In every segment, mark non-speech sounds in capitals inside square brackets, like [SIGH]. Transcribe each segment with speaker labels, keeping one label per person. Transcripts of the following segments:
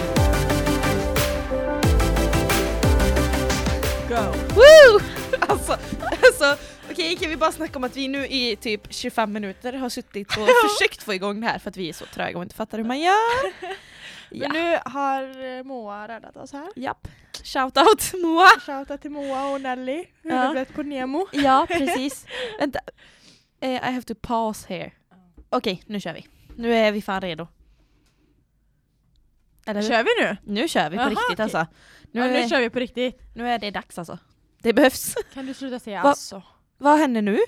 Speaker 1: [LAUGHS] Alltså, kan vi bara snacka om att vi nu i typ 25 minuter har suttit och försökt få igång det här för att vi är så tröga och inte fattar hur man gör. Ja.
Speaker 2: Men nu har eh, Moa räddat oss här.
Speaker 1: Japp. Shoutout [LAUGHS] Moa!
Speaker 2: Shoutout till Moa och Nelly,
Speaker 1: Ja.
Speaker 2: huvudet på Nemo.
Speaker 1: Ja, precis. Vänta. Eh, I have to pause here. Okej, nu kör vi. Nu är vi fan redo. Eller hur?
Speaker 2: Kör vi nu?
Speaker 1: Nu kör vi på
Speaker 2: Jaha,
Speaker 1: riktigt
Speaker 2: okej.
Speaker 1: alltså. Nu,
Speaker 2: ja, nu
Speaker 1: är,
Speaker 2: kör vi på riktigt.
Speaker 1: nu är det dags alltså. Det behövs.
Speaker 2: Kan du sluta säga
Speaker 1: Va-
Speaker 2: alltså?
Speaker 1: Vad hände nu?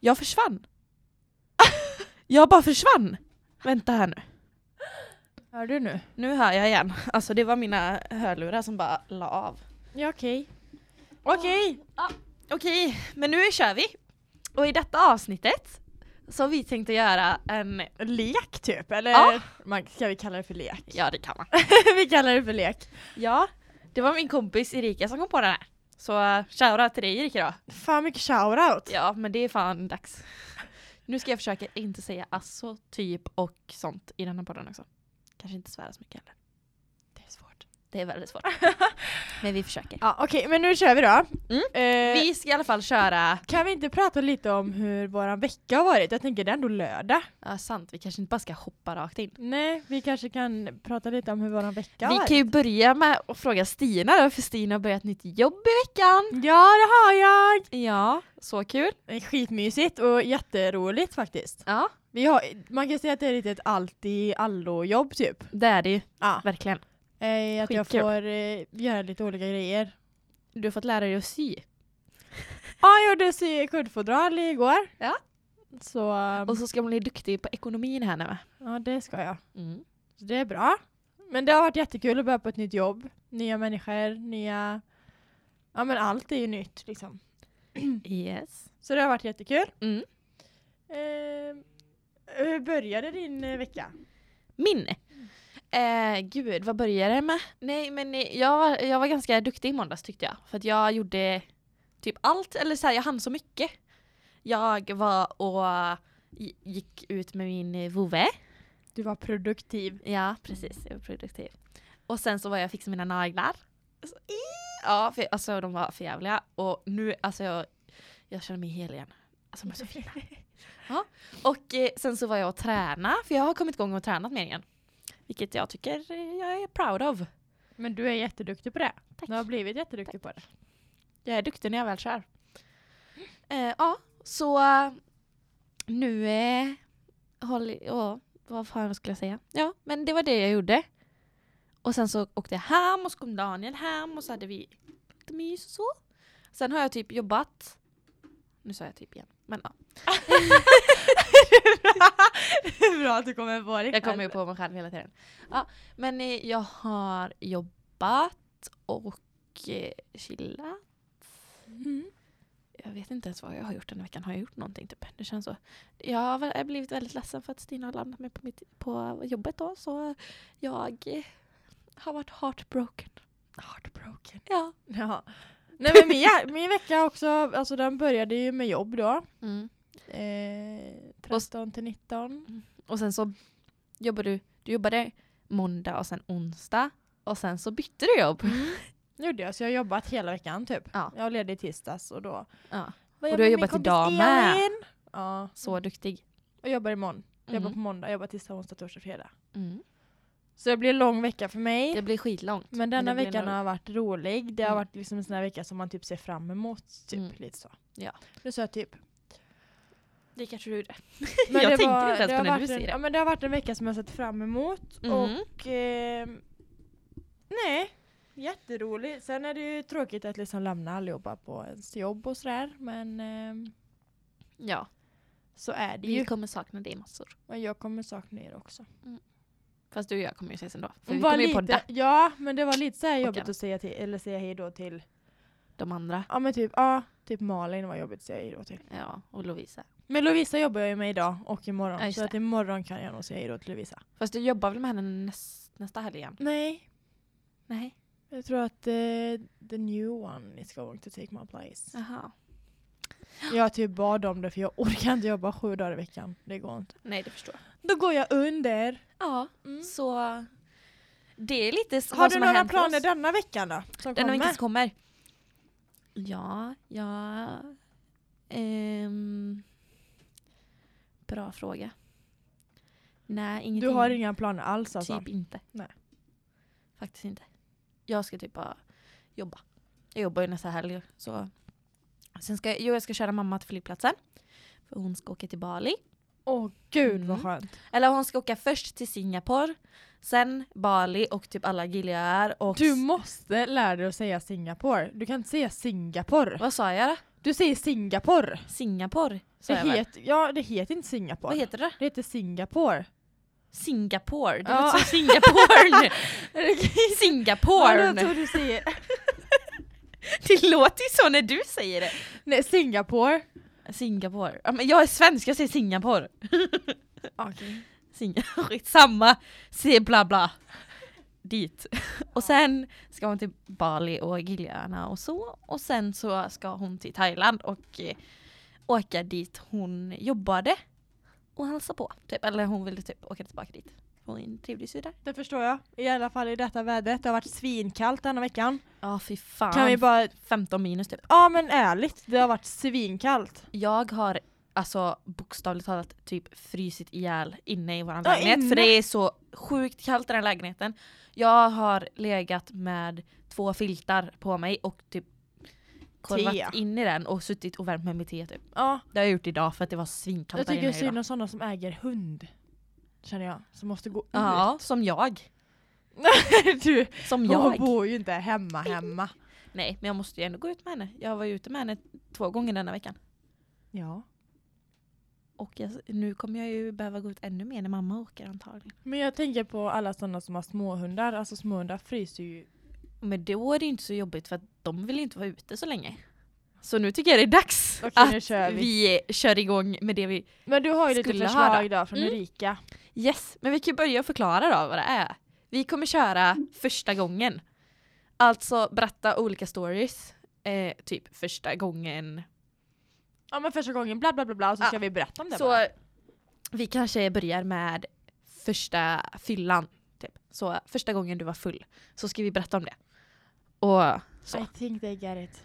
Speaker 1: Jag försvann. [LAUGHS] jag bara försvann. Vänta här nu.
Speaker 2: Hör du nu?
Speaker 1: Nu hör jag igen. Alltså det var mina hörlurar som bara la av.
Speaker 2: Ja okej. Okej!
Speaker 1: Okej, men nu kör vi. Och i detta avsnittet så har vi tänkt att göra en...
Speaker 2: Lek typ, eller?
Speaker 1: Ja.
Speaker 2: Man, ska vi kalla det för lek?
Speaker 1: Ja det kan man.
Speaker 2: [LAUGHS] vi kallar det för lek.
Speaker 1: Ja, det var min kompis Erika som kom på den här. Så eh, shoutout till dig Erika då.
Speaker 2: Fan mycket shoutout.
Speaker 1: Ja, men det är fan dags. Nu ska jag försöka inte säga asso, typ och sånt i den här podden också. Kanske inte svära så mycket heller. Det är svårt. Det är väldigt [LAUGHS] svårt. men vi försöker.
Speaker 2: Ja okej, men nu kör vi då.
Speaker 1: Mm.
Speaker 2: Eh,
Speaker 1: Vi ska i alla fall köra...
Speaker 2: Kan vi inte prata lite om hur våran vecka har varit? Jag tänker det är ändå lördag.
Speaker 1: Ja, sant. Vi kanske inte bara ska hoppa rakt in.
Speaker 2: Nej, vi kanske kan prata lite om hur våran vecka har
Speaker 1: vi
Speaker 2: varit.
Speaker 1: kan ju börja med att fråga Stina då, för Stina har börjat nytt jobb i veckan.
Speaker 2: Ja det har jag!
Speaker 1: Ja, så kul.
Speaker 2: Det är Eh, Skitmysigt och jätteroligt faktiskt.
Speaker 1: Ja,
Speaker 2: Vi har, man kan säga att det är lite ett allt i allo-jobb typ.
Speaker 1: det är det ju.
Speaker 2: Ja.
Speaker 1: Verkligen.
Speaker 2: Eh, att jag
Speaker 1: Skitkul.
Speaker 2: får eh, göra lite olika grejer.
Speaker 1: Du har fått lära dig att sy.
Speaker 2: Ja, jag gjorde sy- kuddfodral igår.
Speaker 1: Ja.
Speaker 2: Så
Speaker 1: Och så ska man bli duktig på ekonomin här nu va?
Speaker 2: ja, det ska jag.
Speaker 1: Mm.
Speaker 2: Så det är bra. Men det har varit jättekul att börja på ett nytt jobb. Nya människor, nya... Ja men allt är ju nytt liksom.
Speaker 1: Yes.
Speaker 2: Så det har varit jättekul.
Speaker 1: Mm.
Speaker 2: Eh, hur började din eh, vecka?
Speaker 1: Min? Eh, gud, vad började det med? Nej men eh, jag, var- jag var ganska duktig i måndags tyckte jag. För att jag gjorde typ allt, eller så här, jag hann så mycket. Jag var och gi- gick ut med min eh, vovve.
Speaker 2: Du var produktiv.
Speaker 1: Ja, precis. Jag var produktiv. Och sen så var jag och fixade mina naglar. Alltså, i- Ja, för, alltså de var för jävliga. Och nu, alltså jag, jag känner mig hel igen. Alltså de är så [LAUGHS] fina. Ja. Och eh, sen så var jag och träna för jag har kommit igång och tränat mer igen. Vilket jag tycker eh, jag är proud av.
Speaker 2: Men du är jätteduktig på det.
Speaker 1: Tack.
Speaker 2: Du har blivit jätteduktig på det.
Speaker 1: Jag är duktig när jag väl kör. Eh, ja, så eh, nu eh, håller ja, vad fan skulle jag säga? Ja, men det var det jag gjorde. Och sen så åkte jag hem och så kom Daniel hem och så hade vi lite mys och så. Sen har jag typ jobbat. Nu sa jag typ igen, men ja. [LAUGHS]
Speaker 2: [LAUGHS] Bra att du kommer på det.
Speaker 1: Jag kommer ju på mig själv hela tiden. Ja, men eh, jag har jobbat och eh, chillat.
Speaker 2: Mm.
Speaker 1: Jag vet inte ens vad jag har gjort den här veckan. Har jag gjort någonting? Typ? Det känns så. Jag har väl- jag har blivit väldigt ledsen för att Stina har landat mig på, mitt, på jobbet då. Så jag eh, har varit heartbroken.
Speaker 2: Heartbroken.
Speaker 1: Ja.
Speaker 2: Ja. Nej men [LAUGHS] min, min vecka också, alltså den började ju med jobb då.
Speaker 1: Mm.
Speaker 2: Eh, 13 till 19.
Speaker 1: Och sen så jobbade du, du jobbade måndag och sen onsdag. Och sen så bytte du jobb.
Speaker 2: Gjorde jag, så jag har jobbat hela veckan typ.
Speaker 1: Ja.
Speaker 2: Jag var ledig i tisdags och då
Speaker 1: Ja. Och du
Speaker 2: var jag
Speaker 1: har
Speaker 2: med min
Speaker 1: jobbat
Speaker 2: kompis
Speaker 1: idag med.
Speaker 2: Elin. Ja,
Speaker 1: Så duktig.
Speaker 2: och jobbar imorgon. Jag Jobbar
Speaker 1: Mm.
Speaker 2: på måndag, jobbar tisdag, onsdag, torsdag, fredag.
Speaker 1: Mm.
Speaker 2: Så det blir en lång vecka för mig.
Speaker 1: Det blir skitlångt.
Speaker 2: men denna
Speaker 1: det blir
Speaker 2: veckan
Speaker 1: ändå-
Speaker 2: har varit rolig. Det har
Speaker 1: Mm.
Speaker 2: varit liksom en sån här vecka som man typ ser fram emot. Typ,
Speaker 1: Mm.
Speaker 2: lite så.
Speaker 1: Ja.
Speaker 2: Nu sa jag typ.
Speaker 1: Det kanske du gjorde. [LAUGHS]
Speaker 2: Men
Speaker 1: jag
Speaker 2: det
Speaker 1: tänkte
Speaker 2: var-
Speaker 1: inte ens på
Speaker 2: det
Speaker 1: när
Speaker 2: har
Speaker 1: du
Speaker 2: varit en-
Speaker 1: säger
Speaker 2: Ja,
Speaker 1: det.
Speaker 2: men det har varit en vecka som jag sett fram emot.
Speaker 1: Mhm.
Speaker 2: Och eh, nej, jätterolig. Sen är det ju tråkigt att liksom lämna allihopa på ens jobb och sådär. Men eh,
Speaker 1: Ja.
Speaker 2: så är det
Speaker 1: Vi
Speaker 2: ju.
Speaker 1: kommer sakna dig massor.
Speaker 2: Och jag kommer sakna er också.
Speaker 1: Fast du och jag kommer ju ses ändå. För vi
Speaker 2: Var
Speaker 1: kommer ju
Speaker 2: lite-
Speaker 1: podda
Speaker 2: Ja, men det var lite så här
Speaker 1: Och
Speaker 2: jobbigt
Speaker 1: Anna.
Speaker 2: att säga, till, eller säga hej då till.
Speaker 1: de andra.
Speaker 2: Ja men typ, ja, typ Malin var jobbigt att säga hej då till.
Speaker 1: Ja, och Lovisa.
Speaker 2: Men Lovisa jobbar jag ju med idag och
Speaker 1: Ja,
Speaker 2: imorgon.
Speaker 1: just
Speaker 2: så att imorgon kan jag nog säga hej då till Lovisa.
Speaker 1: Fast du jobbar väl med henne näs, nästa helg igen?
Speaker 2: Nej,
Speaker 1: Nej.
Speaker 2: Jag tror att eh, the new one is going to take my place.
Speaker 1: Jaha.
Speaker 2: Jag typ bad om det för jag orkar inte jobba sju dagar i veckan. Det går inte.
Speaker 1: Nej, det förstår jag.
Speaker 2: Då går jag under.
Speaker 1: Ja,
Speaker 2: Mm.
Speaker 1: så det är lite
Speaker 2: Har du några planer denna veckan då? Som
Speaker 1: Den
Speaker 2: kommer?
Speaker 1: veckan som kommer? Ja, jag Ehm, bra fråga. Nej,
Speaker 2: Du
Speaker 1: ingenting.
Speaker 2: har inga planer alls alltså?
Speaker 1: Typ inte.
Speaker 2: Nej.
Speaker 1: Faktiskt inte. Jag ska typ bara jobba. Jag jobbar ju nästa helg. Så. Sen ska, jo, jag ska köra mamma till flygplatsen. För hon ska åka till Bali.
Speaker 2: Åh gud vad
Speaker 1: Mm.
Speaker 2: skönt.
Speaker 1: Eller hon ska åka först till Singapore. Sen Bali och typ alla gillar och...
Speaker 2: Du måste lära dig att säga Singapore. Du kan inte säga Singapore.
Speaker 1: Vad sa jag då?
Speaker 2: Du säger Singapore.
Speaker 1: Singapore? Sa
Speaker 2: Det
Speaker 1: jag väl?
Speaker 2: heter, ja, det heter inte Singapore.
Speaker 1: Vad heter det?
Speaker 2: Det heter Singapore.
Speaker 1: Singapore? Det
Speaker 2: Ja.
Speaker 1: låter som
Speaker 2: [LAUGHS]
Speaker 1: Singaporn!
Speaker 2: Ja,
Speaker 1: Singaporn!
Speaker 2: tror du säger. [LAUGHS]
Speaker 1: Det låter ju så när du säger det!
Speaker 2: Nej, Singapore.
Speaker 1: Singapore. Ja, men jag är svensk, jag säger Singapore.
Speaker 2: Okay.
Speaker 1: Singapore, samma, se bla bla. [LAUGHS] Dit. Och sen ska hon till Bali och Giljöarna och så. Och sen så ska hon till Thailand och eh, åka dit hon jobbade. Och hälsa på. Typ. Eller hon ville typ åka tillbaka dit. Hon trivdes ju där.
Speaker 2: Det förstår jag. I alla fall i detta vädret. Det har varit svinkallt denna veckan.
Speaker 1: Ja fy fan.
Speaker 2: Kan vi bara...
Speaker 1: 15 minus typ.
Speaker 2: Ja men ärligt, det har varit svinkallt.
Speaker 1: Jag har alltså bokstavligt talat typ frysit ihjäl inne i vår
Speaker 2: Ja,
Speaker 1: lägenhet
Speaker 2: inne.
Speaker 1: för det är så sjukt kallt i den här lägenheten. Jag har legat med två filtar på mig och typ kollat
Speaker 2: Te.
Speaker 1: in i den och suttit och värmt mig med te typ.
Speaker 2: Ja,
Speaker 1: Det har jag gjort idag för att det var
Speaker 2: jag
Speaker 1: svinkallt där
Speaker 2: tycker
Speaker 1: inne
Speaker 2: synd
Speaker 1: idag.
Speaker 2: om sådana som äger hund. Känner jag. Som måste gå
Speaker 1: Ja, som jag.
Speaker 2: ut. [LAUGHS] du,
Speaker 1: Som
Speaker 2: hon
Speaker 1: jag.
Speaker 2: bor ju inte hemma hemma.
Speaker 1: Nej men jag måste ju ändå gå ut med henne. Jag var ju ute med henne två gånger denna veckan.
Speaker 2: Ja.
Speaker 1: Och jag, nu kommer jag ju behöva gå ut ännu mer när mamma åker antagligen.
Speaker 2: Men jag tänker på alla sådana som har småhundar. Alltså småhundar fryser ju.
Speaker 1: Men då är det ju inte så jobbigt för att de vill ju inte vara ute så länge. Så nu tycker jag det är dags
Speaker 2: Okej,
Speaker 1: att
Speaker 2: nu kör vi.
Speaker 1: vi kör igång med det vi...
Speaker 2: Men du har ju lite
Speaker 1: Skulle ha
Speaker 2: förslag
Speaker 1: då.
Speaker 2: idag från
Speaker 1: Mm.
Speaker 2: Erika.
Speaker 1: Yes, men vi kan ju börja förklara då vad det är. Vi kommer köra
Speaker 2: Mm.
Speaker 1: första gången. Alltså berätta olika stories. Eh, typ första gången.
Speaker 2: Ja men första gången bla bla bla bla och så
Speaker 1: Ja.
Speaker 2: ska vi berätta om det bara.
Speaker 1: Så vi kanske börjar med första fyllan. Typ. Så första gången du var full. Så ska vi berätta om det. Och så.
Speaker 2: I think they get it.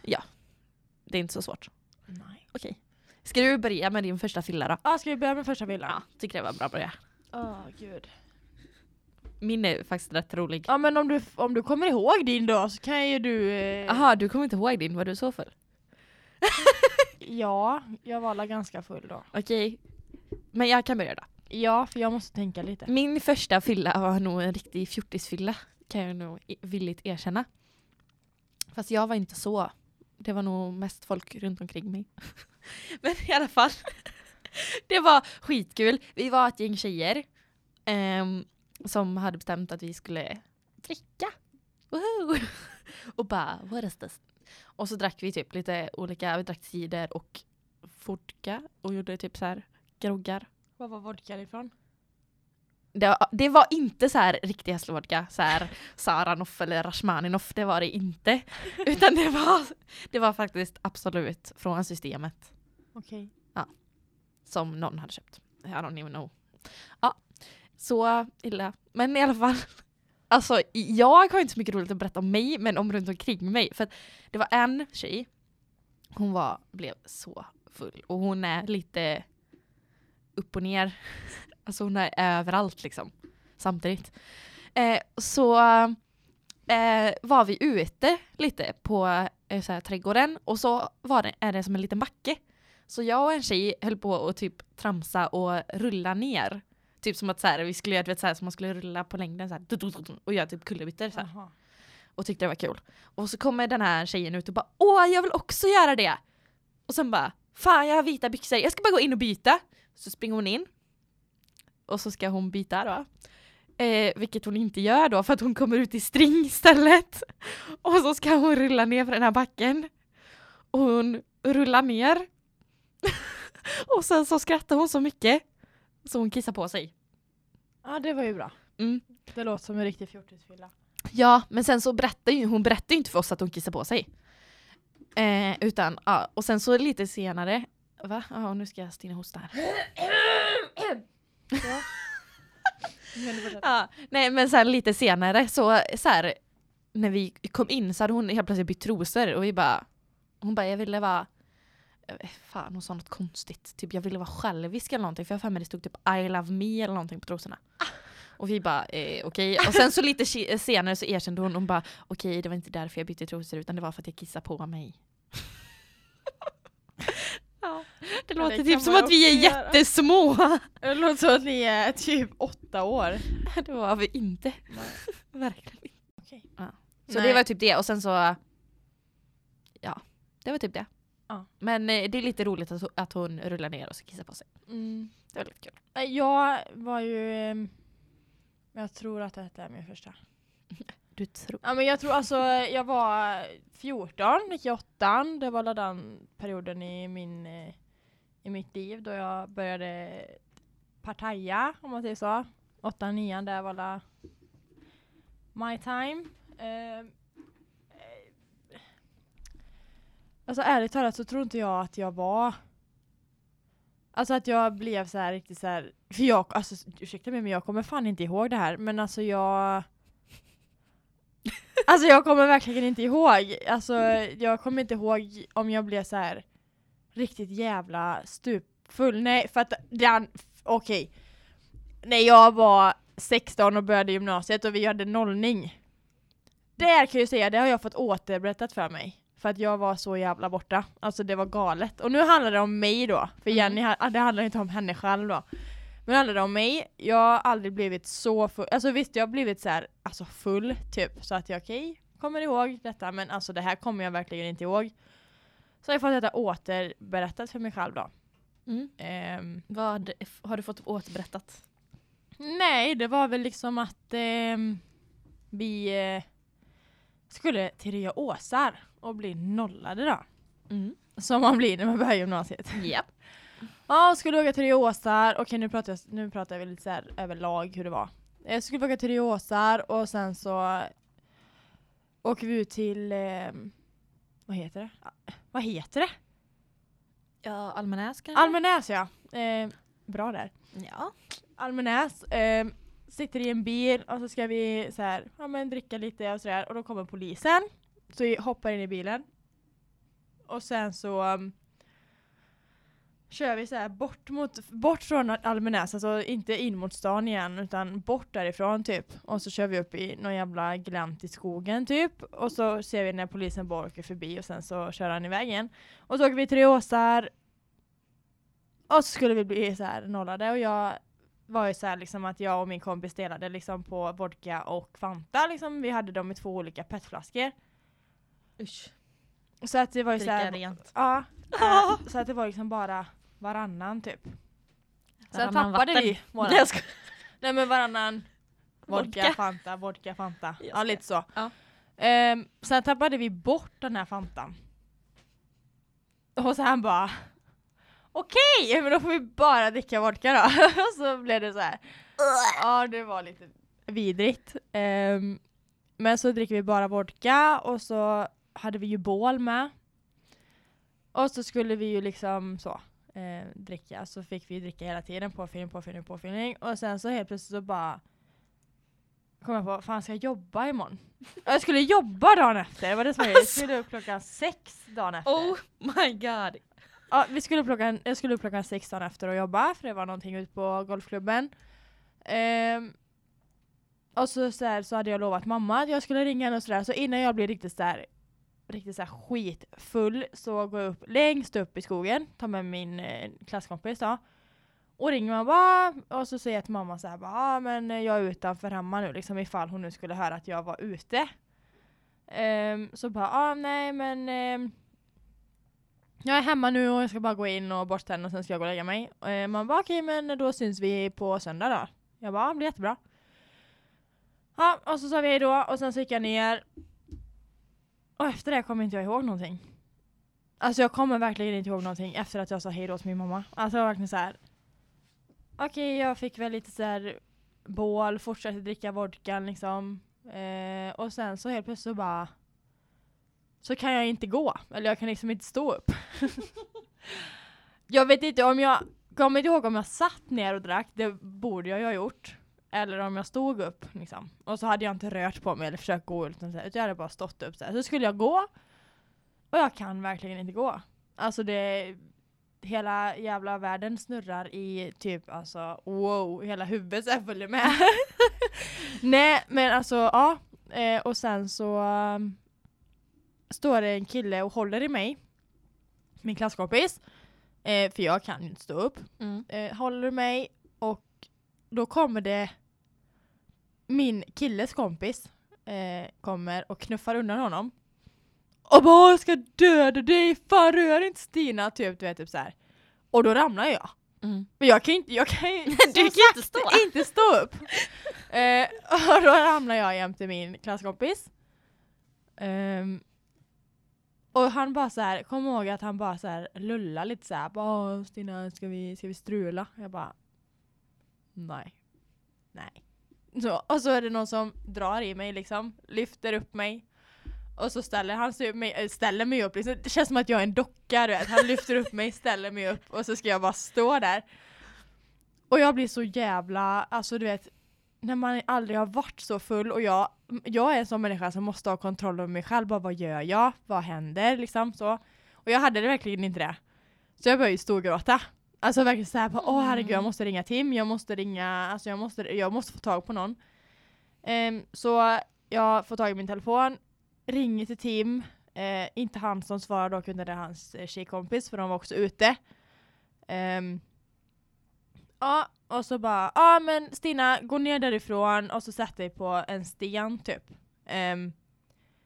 Speaker 1: Det är inte så svårt.
Speaker 2: Nej.
Speaker 1: Okej. Ska du börja med din första fylla då?
Speaker 2: Ja, ska vi börja med första
Speaker 1: Ja,
Speaker 2: villan?
Speaker 1: tycker det var en bra början.
Speaker 2: Åh gud.
Speaker 1: Min är faktiskt rätt rolig.
Speaker 2: Ja men om du, om du kommer ihåg din då så kan ju du... eh,
Speaker 1: Jaha, du kommer inte ihåg din, var du så full?
Speaker 2: Ja, jag var alla ganska full då.
Speaker 1: Okej. Men jag kan börja då.
Speaker 2: Ja, för jag måste tänka lite.
Speaker 1: Min första fylla var nog en riktig fjortisfylla. Kan jag nog i- villigt erkänna. Fast jag var inte så. Det var nog mest folk runt omkring mig. [LAUGHS] Men i alla fall. [LAUGHS] Det var skitkul. Vi var ett gäng tjejer. ehm, som hade bestämt att vi skulle dricka. Woho! [LAUGHS] Och bara, what is this? Och så drack vi typ lite olika, vi drack cider och vodka. Och gjorde typ så här groggar.
Speaker 2: Var var vodkan ifrån?
Speaker 1: Det, det var inte så här riktig hästvodka, så här Saranoff eller Rashmaninoff, det var det inte. Utan det var, det var faktiskt absolut från systemet
Speaker 2: Okej.
Speaker 1: som någon hade köpt. I don't even know. Ja, så illa. Men i alla fall. Alltså jag har inte så mycket roligt att berätta om mig men om runt omkring mig. För att det var en tjej, hon var, blev så full och hon är lite upp och ner. [LAUGHS] Alltså hon är överallt liksom. Samtidigt. Eh, så eh, var vi ute lite på eh, så här, trädgården och så var det, är det som en liten backe. Så jag och en tjej höll på att typ tramsa och rulla ner. Typ som att så här, vi skulle göra du vet, så här, som man skulle rulla på längden så här, du, du, du, du, och göra typ kullerbyttor så här,
Speaker 2: Jaha.
Speaker 1: och tyckte det var kul. Och så kommer den här tjejen ut och bara åh jag vill också göra det! Och sen bara fan jag har vita byxor, jag ska bara gå in och byta. Så springer hon in och så ska hon byta då. Eh, vilket hon inte gör då för att hon kommer ut i string istället. [LAUGHS] Och så ska hon rulla ner för den här backen. Och hon rullar ner. [LAUGHS] och sen så skrattar hon så mycket så hon kissar på sig.
Speaker 2: Ja, det var ju bra.
Speaker 1: Mm.
Speaker 2: Det låter som en riktig [LAUGHS] fjortisfylla.
Speaker 1: Ja, men sen så berättar ju, hon berättar ju inte för oss att hon kissar på sig. Eh, utan, ja, och sen så lite senare, va? Ja, nu ska Stina hosta här.
Speaker 2: Ja. Men det var så-
Speaker 1: Ja, nej, men sen lite senare så, så här, när vi kom in så hade hon helt plötsligt bytt trosor och vi bara, hon bara, jag ville bara jag vet eh, Fan hon sa något konstigt. Typ jag ville vara självisk eller någonting. För jag har för mig det stod typ I love me eller någonting på trosorna. Och vi bara eh, okej. Och sen så lite ki- senare så erkände hon. Hon bara okej det var inte därför jag bytte trosor utan det var för att jag kissade på mig. [LAUGHS] ja, det
Speaker 2: Men det
Speaker 1: låter
Speaker 2: kan
Speaker 1: typ som
Speaker 2: man
Speaker 1: att vi är
Speaker 2: också göra.
Speaker 1: jättesmå.
Speaker 2: Det låter som att ni är typ åtta år.
Speaker 1: [LAUGHS] det var vi inte. Verkligen inte.
Speaker 2: Okej.
Speaker 1: Ja. Så
Speaker 2: Nej.
Speaker 1: det var typ det och sen så Ja, det var typ det.
Speaker 2: Ja.
Speaker 1: Men eh, det är lite roligt att, att hon rullar ner och så kissar på sig. Det var lite kul.
Speaker 2: Mm. Nej, Jag var ju... ehm, Jag tror att detta är min första.
Speaker 1: Du tror?
Speaker 2: Ja, men jag tror alltså, jag var 14, gick i åttan. Det var alla den perioden i, min, eh, i mitt liv då jag började partaja, om man säger så. Åttan, nian, där var alla my time. Eh, eh, alltså ärligt talat så tror inte jag att jag var Alltså att jag blev så här riktigt så här, för jag, alltså ursäkta mig men jag kommer fan inte ihåg det här, men alltså jag Alltså jag kommer verkligen inte ihåg. Alltså jag kommer inte ihåg om jag blev så här riktigt jävla stupfull. Nej, för att den, okej. När jag var 16 och började gymnasiet och vi hade nollning. Där kan jag ju säga, det har jag fått återberättat för mig. För att jag var så jävla borta. Alltså det var galet. Och nu handlar det om mig då. För
Speaker 1: Mm.
Speaker 2: Jenny, ha- det handlar inte om henne själv då. Men det handlar om mig. Jag har aldrig blivit så full. Alltså visst, jag har blivit så här, alltså full typ. Så att jag okej, kommer ihåg detta. Men alltså det här kommer jag verkligen inte ihåg. Så jag har fått detta återberättat för mig själv då.
Speaker 1: Mm.
Speaker 2: Ehm,
Speaker 1: Vad f- har du fått återberättat?
Speaker 2: Nej, det var väl liksom att ehm, vi eh, skulle till Nya Åsar och bli nollade då.
Speaker 1: Mm.
Speaker 2: Som man blir när man börjar gymnasiet.
Speaker 1: Japp.
Speaker 2: Ja, skulle åka till Nya Åsar. Okej, nu pratar, jag, nu pratar vi lite så här överlag hur det var. Jag skulle åka till Nya Åsar och sen så åker vi ut till, ehm, vad heter det? Ah, Vad heter det?
Speaker 1: Ja, Almanäs kanske?
Speaker 2: Almenäs ja. Ehm, bra där.
Speaker 1: ja.
Speaker 2: Almenäs. Eh, sitter i en bil och så ska vi så här, ja, men dricka lite och sådär. Och då kommer polisen. Så vi hoppar in i bilen. Och sen så um, kör vi så här bort, mot, bort från Almenäs. Alltså inte in mot stan igen utan bort därifrån typ. Och så kör vi upp i någon jävla glänt i skogen typ. Och så ser vi när polisen bara åker förbi och sen så kör han iväg igen. Och så åker vi till Åsar. Och så skulle vi bli så här nollade och jag var ju så här liksom att jag och min kompis delade liksom på vodka och Fanta liksom. Vi hade dem i två olika petflaskor.
Speaker 1: Usch.
Speaker 2: Så att det var ju så
Speaker 1: Dricka
Speaker 2: här,
Speaker 1: rent. [LAUGHS]
Speaker 2: Ja. eh, så att det var liksom bara varannan typ. Sen
Speaker 1: Varannan
Speaker 2: tappade
Speaker 1: vatten.
Speaker 2: vi våra...
Speaker 1: Nej, jag skojar.
Speaker 2: Nej men varannan vodka,
Speaker 1: Vodka.
Speaker 2: Fanta, vodka, Fanta.
Speaker 1: Just
Speaker 2: ja
Speaker 1: det.
Speaker 2: lite så.
Speaker 1: Ja.
Speaker 2: Ehm, sen tappade vi bort den här Fantan. Och sen bara Okej, men då får vi bara dricka vodka då. [LAUGHS] Och så blev det så här. Ja det var lite vidrigt. Ehm, men så dricker vi bara vodka och så hade vi ju bål med. Och så skulle vi ju liksom så eh, dricka, så fick vi ju dricka hela tiden, påfyllning, påfyllning, påfyllning. Och sen så helt plötsligt så bara kom jag på, fan ska jag jobba imorgon? [LAUGHS] jag skulle jobba dagen efter, det var det som var grejen. Jag skulle upp klockan sex dagen
Speaker 1: [LAUGHS]
Speaker 2: efter.
Speaker 1: Oh my god.
Speaker 2: Ja, vi skulle upp klockan, jag skulle upp klockan 16 efter och jobba för det var någonting ute på golfklubben. Ehm, och så, så, här, så hade jag lovat mamma att jag skulle ringa henne och sådär. Så innan jag blev riktigt så här, riktigt så här skitfull så går jag upp längst upp i skogen, tar med min eh, klasskompis då. Och ringer mamma och så säger jag till mamma så här, bara, ah, men eh, jag är utanför hemma nu liksom ifall hon nu skulle höra att jag var ute. Ehm, så bara, ah, nej men ehm, jag är hemma nu och jag ska bara gå in och borsta tänderna och sen ska jag gå och lägga mig. Eh, man bara okej men då syns vi på söndag då. Jag bara, ja, det blir jättebra. Ja, och så sa vi hej då och sen så gick jag ner. Och efter det kommer inte jag ihåg någonting. Alltså jag kommer verkligen inte ihåg någonting efter att jag sa hej då till min mamma. Alltså jag var verkligen så här. Okej, jag fick väl lite så här bål, fortsatte dricka vodkan liksom. Eh, och sen så helt plötsligt så bara så kan jag inte gå. Eller jag kan liksom inte stå upp. jag vet inte om jag kommer inte ihåg om jag satt ner och drack. Det borde jag ju ha gjort. Eller om jag stod upp liksom. Och så hade jag inte rört på mig eller försökt gå utan så här, utan jag hade bara stått upp så här. Så skulle jag gå. Och jag kan verkligen inte gå. Alltså det, hela jävla världen snurrar i typ alltså wow, hela huvudet så här följer med. [LAUGHS] Nej men alltså ja, eh, och sen så um, står det en kille och håller i mig, min klasskompis, eh, för jag kan ju inte stå upp
Speaker 1: Mm,
Speaker 2: eh, håller mig och då kommer det min killes kompis eh, kommer och knuffar undan honom. Och bara jag ska döda dig, fan rör inte Stina typ, du vet typ så här. Och då ramlar jag.
Speaker 1: mm. [LAUGHS]
Speaker 2: Men jag kan ju inte, jag kan ju som
Speaker 1: kan ju inte
Speaker 2: sagt
Speaker 1: stå.
Speaker 2: [LAUGHS] inte stå upp. eh, [LAUGHS] och då ramlar jag jämte min klasskompis. Ehm, och han bara så här, kom ihåg att han bara så här lullar lite så här, bara "Åh, Stina ska vi, ska vi strula? Jag bara nej. Nej. Så, och så är det någon som drar i mig liksom, lyfter upp mig. Och så ställer han sig upp mig, äh, ställer mig upp, liksom. det känns som att jag är en docka du vet. Han lyfter upp mig, ställer mig upp och så ska jag bara stå där. Och jag blir så jävla, alltså du vet, när man aldrig har varit så full och jag, jag är en sån människa som måste ha kontroll över mig själv, bara vad gör jag, vad händer liksom så. Och jag hade det verkligen inte det. Så jag började ju storgråta. Alltså verkligen såhär, bara, åh herregud jag måste ringa Tim, jag måste ringa, alltså jag måste, jag måste få tag på någon. Ehm, så jag får tag i min telefon, ringer till Tim, eh, inte han som svarar dock utan det är hans eh, tjejkompis för de var också ute. Ehm, Ja, och så bara, ja men Stina gå ner därifrån och så sätt dig på en sten typ. Ehm,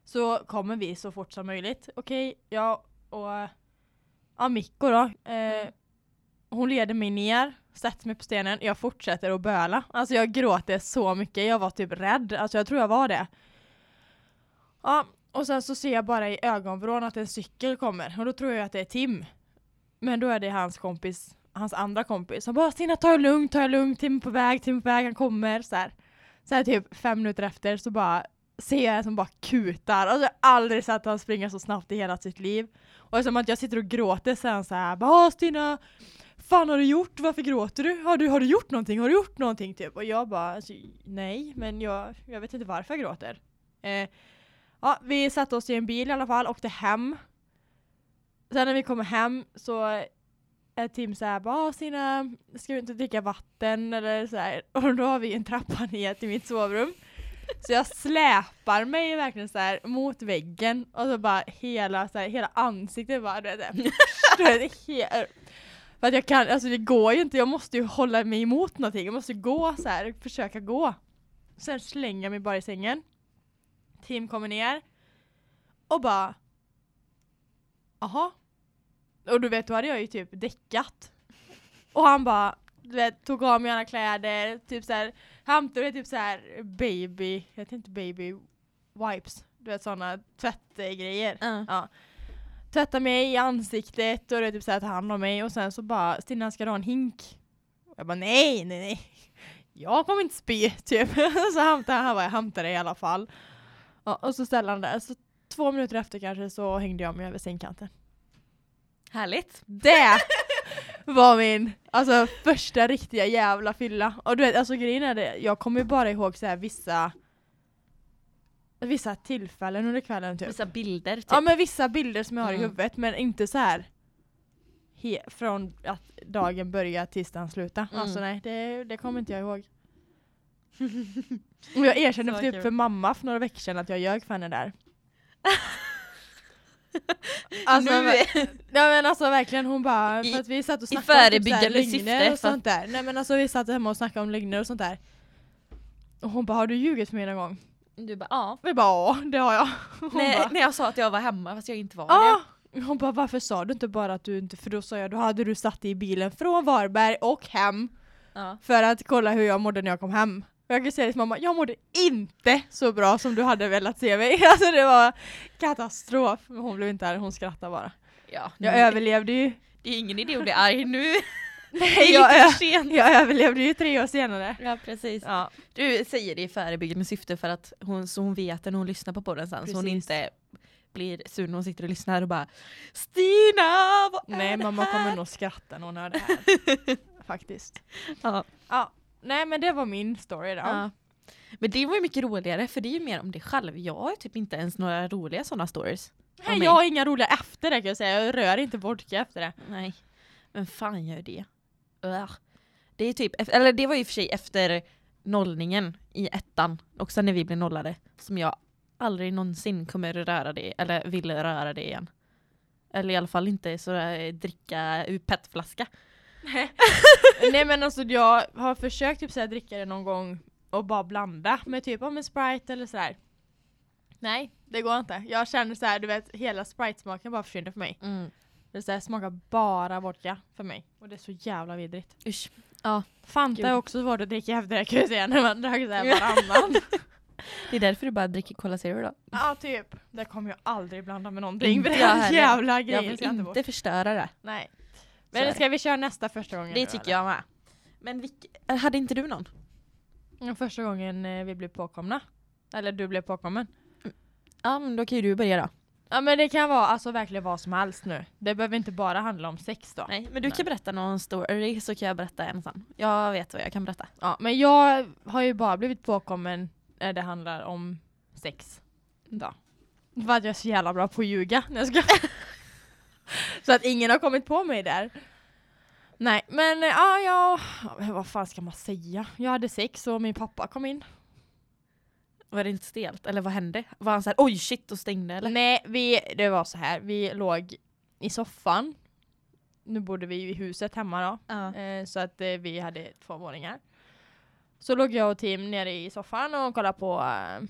Speaker 2: så kommer vi så fort som möjligt. Okej, jag och ja, Mikko då. eh, Hon leder mig ner, sätter mig på stenen, jag fortsätter att böla. Alltså jag gråter så mycket, jag var typ rädd. Alltså jag tror jag var det. Ja, och sen så ser jag bara i ögonvrån att en cykel kommer och då tror jag att det är Tim. Men då är det hans kompis, hans andra kompis som bara Stina ta det lugnt, ta det lugnt, Tim är på väg, Tim är på väg, han kommer så här. Så här typ fem minuter efter så bara ser jag en som bara kutar. Alltså jag har aldrig sett han springa så snabbt i hela sitt liv. Och som att jag sitter och gråter så är han så här bara "Ah, Stina, fan har du gjort, varför gråter du? Har du, har du gjort någonting, har du gjort någonting typ? Och jag bara alltså, nej, men jag, jag vet inte varför jag gråter. Eh, ja, vi satte oss i en bil i alla fall, åkte hem. Sen när vi kommer hem så är Tim såhär bara sina ska vi inte dricka vatten eller såhär och då har vi en trappa ner till mitt sovrum. Så jag släpar mig verkligen så här mot väggen och så bara hela, så här, hela ansiktet bara du vet, så här, du vet, he- För att jag kan, alltså det går ju inte, jag måste ju hålla mig emot någonting, jag måste gå så här, försöka gå. Sen slänger jag mig bara i sängen. Tim kommer ner och bara Jaha? Och du vet, då hade jag ju typ däckat. Och han bara, du vet, tog av mig alla kläder, typ såhär, hämtade typ såhär baby, jag heter inte baby wipes, du vet sådana tvättgrejer. Ja. Tvätta mig i ansiktet och det är typ så här, ta hand om mig och sen så bara Stina ska du ha en hink? Och jag bara nej, nej, nej. Jag kommer inte spy typ. [LAUGHS] så hämtade han, han bara jag hämtar det i alla fall. Ja, och så ställde han där. Så två minuter efter kanske så hängde jag mig över sängkanten.
Speaker 1: Härligt.
Speaker 2: Det var min alltså, första riktiga jävla fylla. Och du vet, alltså grejen är det, jag kommer ju bara ihåg så här vissa vissa tillfällen under kvällen typ.
Speaker 1: Vissa bilder typ.
Speaker 2: Ja men vissa bilder som jag har i
Speaker 1: Mm.
Speaker 2: huvudet men inte så här he- från att dagen börjar tills den slutar.
Speaker 1: Mm.
Speaker 2: Alltså nej, det, det kommer inte
Speaker 1: [LAUGHS]
Speaker 2: jag ihåg. Och jag erkände
Speaker 1: Så
Speaker 2: för typ
Speaker 1: kul.
Speaker 2: för mamma för några veckor sedan att jag ljög för
Speaker 1: [LAUGHS]
Speaker 2: henne där. alltså,
Speaker 1: nu,
Speaker 2: men, nej men alltså verkligen hon bara,
Speaker 1: I-
Speaker 2: för att vi satt och
Speaker 1: i
Speaker 2: snackade om
Speaker 1: förebyggande
Speaker 2: typ så här lögner
Speaker 1: syfte,
Speaker 2: och
Speaker 1: för att-
Speaker 2: sånt där. Nej men alltså vi satt hemma och snackade om lögner och sånt där. Och hon bara, har du ljugit för mig någon gång?
Speaker 1: [LAUGHS] du bara ja.
Speaker 2: Vi bara, ja det har jag. [LAUGHS] Hon bara,
Speaker 1: När, när jag sa att jag var hemma fast jag inte var
Speaker 2: Ja! Hon bara varför sa du inte bara att du inte, för då sa jag då hade du satt i bilen från Varberg och hem
Speaker 1: det. Ja.
Speaker 2: för att kolla hur jag mådde när jag kom hem. Och jag kan säga till mamma, jag mådde inte så bra som du hade velat se mig. [LAUGHS] Alltså det var katastrof. Men hon blev inte arg, hon skrattade bara.
Speaker 1: Ja,
Speaker 2: Jag
Speaker 1: nu-
Speaker 2: överlevde ju.
Speaker 1: Det är ingen idé att bli arg nu.
Speaker 2: [LAUGHS] Nej,
Speaker 1: jag
Speaker 2: jag, ö-
Speaker 1: sent.
Speaker 2: jag överlevde ju tre år senare.
Speaker 1: Ja precis.
Speaker 2: Ja,
Speaker 1: Du säger det i förebyggande syfte för att hon, så hon vet när hon lyssnar på podden sen så hon
Speaker 2: Precis.
Speaker 1: inte blir sur när hon sitter och lyssnar och bara Stina! Vad är
Speaker 2: nej
Speaker 1: det
Speaker 2: mamma
Speaker 1: här?"
Speaker 2: kommer nog skratta när hon hör det här. [LAUGHS] Faktiskt.
Speaker 1: Ja.
Speaker 2: Ja, nej men det var min story då.
Speaker 1: Ja. Men det var ju mycket roligare för det är ju mer om dig själv. Jag har ju typ inte ens några roliga sådana stories.
Speaker 2: Nej,
Speaker 1: mig.
Speaker 2: jag har inga roliga efter det kan jag säga. Jag rör inte vodka efter det.
Speaker 1: Nej. Men fan gör det? Ugh. Det är typ, eller det var ju i och för sig efter nollningen i ettan, också när vi blev nollade, som jag aldrig någonsin kommer röra det, eller vill röra det igen. Eller i alla fall inte så där, dricka ur petflaska.
Speaker 2: Nej men alltså jag har försökt typ så här, dricka det någon gång och bara blanda med typ om en Sprite eller sådär. Nej, det går inte. Jag känner så här, du vet hela Sprite-smaken bara försvinner för mig.
Speaker 1: Mm.
Speaker 2: Det så här, smakar bara vodka för mig. Och det är så jävla vidrigt.
Speaker 1: Usch.
Speaker 2: Fanta
Speaker 1: Gud.
Speaker 2: är också svårt att dricka efter det kan jag säga när man drack
Speaker 1: [LAUGHS]
Speaker 2: såhär varannan.
Speaker 1: Det är därför du bara dricker Cola Zero då.
Speaker 2: ja typ. Det kommer jag aldrig blanda med någonting
Speaker 1: Inte
Speaker 2: för det
Speaker 1: jag
Speaker 2: är
Speaker 1: heller.
Speaker 2: jävla
Speaker 1: Jag
Speaker 2: grejen.
Speaker 1: vill
Speaker 2: ska inte bort.
Speaker 1: inte förstöra det.
Speaker 2: Nej.
Speaker 1: Så är
Speaker 2: Men
Speaker 1: det.
Speaker 2: ska vi köra nästa första gången?
Speaker 1: Det tycker jag med. Men vilk- eh, hade inte du någon?
Speaker 2: jag. Första gången eh, vi blev påkomna. Eller du blev påkommen.
Speaker 1: Ja men då kan ju du börja då.
Speaker 2: Ja men det kan vara alltså verkligen vad som helst nu. Det behöver inte bara handla om sex då.
Speaker 1: Nej men du kan berätta någon story så kan jag berätta en sen. Jag vet vad jag kan berätta.
Speaker 2: Ja, men jag har ju bara blivit påkommen när det handlar om sex. Då. För att jag är så jävla bra på att ljuga. [LAUGHS] Nej, jag skojar. så att ingen har kommit på mig där. Nej men eh, ja, jag... ja, men Vad fan ska man säga? Jag hade sex och min pappa kom in.
Speaker 1: Var det inte stelt? Eller vad hände? Var han såhär oj shit och stängde eller?
Speaker 2: Nej, vi, det var så här. Vi låg i soffan. Nu bodde vi ju i huset hemma då.
Speaker 1: Ja.
Speaker 2: Eh, så att eh, vi hade två våningar. Så låg jag och Tim nere i soffan och kollade på, eh,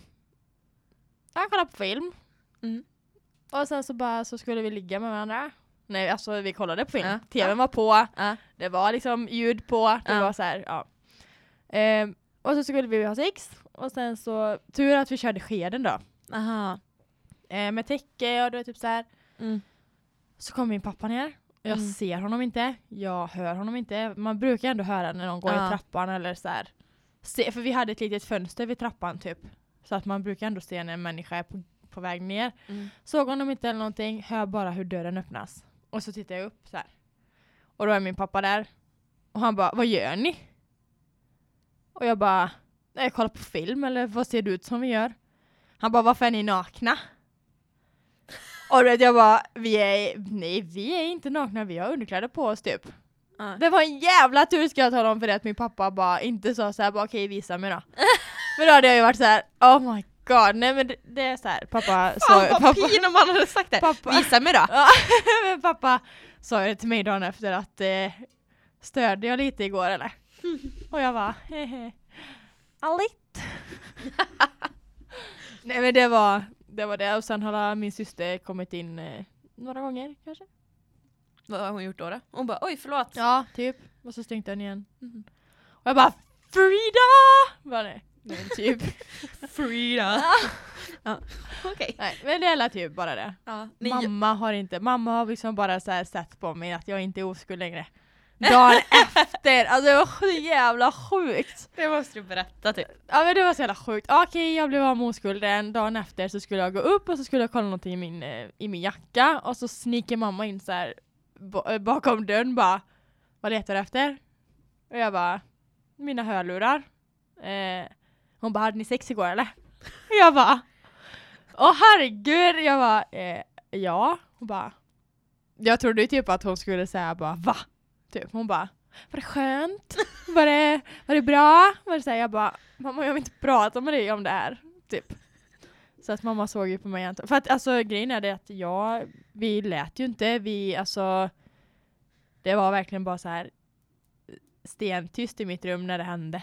Speaker 2: ja, kollade på film.
Speaker 1: Mm.
Speaker 2: Och sen så bara så skulle vi ligga med varandra. Nej, alltså vi kollade på film.
Speaker 1: Ja.
Speaker 2: TVn var på,
Speaker 1: Ja.
Speaker 2: det var liksom ljud på, det
Speaker 1: Ja.
Speaker 2: var så här, ja. Eh, och så skulle vi ha sex. Och sen så, tur att vi körde skeden då.
Speaker 1: Aha.
Speaker 2: Eh, med täcke och du vet typ så här.
Speaker 1: Mm.
Speaker 2: Så kommer min pappa ner. Jag
Speaker 1: Mm.
Speaker 2: ser honom inte, jag hör honom inte. Man brukar ändå höra när någon går
Speaker 1: Ja.
Speaker 2: i trappan eller så här. Se, för vi hade ett litet fönster vid trappan typ. Så att man brukar ändå se när en människa är på, på väg ner.
Speaker 1: Mm.
Speaker 2: Såg honom inte eller någonting, hör bara hur dörren öppnas. Och så tittar jag upp så här. Och då är min pappa där. Och han bara, vad gör ni? Och jag bara, "Nej, jag kollar på film eller vad ser det ut som vi gör? Han bara, varför är ni nakna? Och du vet jag bara, vi är, nej vi är inte nakna, vi har underkläder på oss typ.
Speaker 1: Ja.
Speaker 2: Det var en jävla tur ska jag tala om för det att min pappa bara inte sa såhär, bara okej visa mig
Speaker 1: [LAUGHS]
Speaker 2: då. Men då hade jag ju varit så här: oh my god, nej men det, det är såhär, pappa sa
Speaker 1: Fan vad pin [LAUGHS] om han hade sagt det!
Speaker 2: Pappa.
Speaker 1: Visa mig då!
Speaker 2: Ja, [LAUGHS] men pappa sa ju till mig dagen efter att eh, störde jag lite igår eller? Och jag bara hehe, "Ja, lite. Nej men det var, det var det och sen har min syster kommit in eh, några gånger kanske.
Speaker 1: Vad har hon gjort då? då? Hon bara oj förlåt!
Speaker 2: Ja, typ. Och så stängde den igen.
Speaker 1: Mm.
Speaker 2: Och jag bara Frida! Bara, nej, nej typ.
Speaker 1: Frida! ja. Okej.
Speaker 2: nej, men det är väl typ bara det.
Speaker 1: Ja. Ni-
Speaker 2: Mamma har inte, mamma har liksom bara så här sett på mig att jag inte är oskuld längre. Dagen efter, alltså det var så jävla sjukt.
Speaker 1: Det måste du berätta typ.
Speaker 2: Ja men det var så jävla sjukt. Okej jag blev av med oskulden, dagen efter så skulle jag gå upp och så skulle jag kolla någonting i min, eh, i min jacka och så sniker mamma in så här ba- eh, bakom dörren bara Vad letar du efter? Och jag bara Mina hörlurar. Eh, hon bara hade ni sex igår eller? Och jag bara Åh herregud! Jag bara eh, ja. Hon bara Jag trodde ju typ att hon skulle säga bara va? Typ hon bara var det skönt? Var det, var det bra? Var det så här, jag bara mamma jag vill inte prata med dig om det här. Typ. Så att mamma såg ju på mig antagligen. För att alltså grejen är det att jag, vi lät ju inte, vi alltså det var verkligen bara så här stentyst i mitt rum när det hände.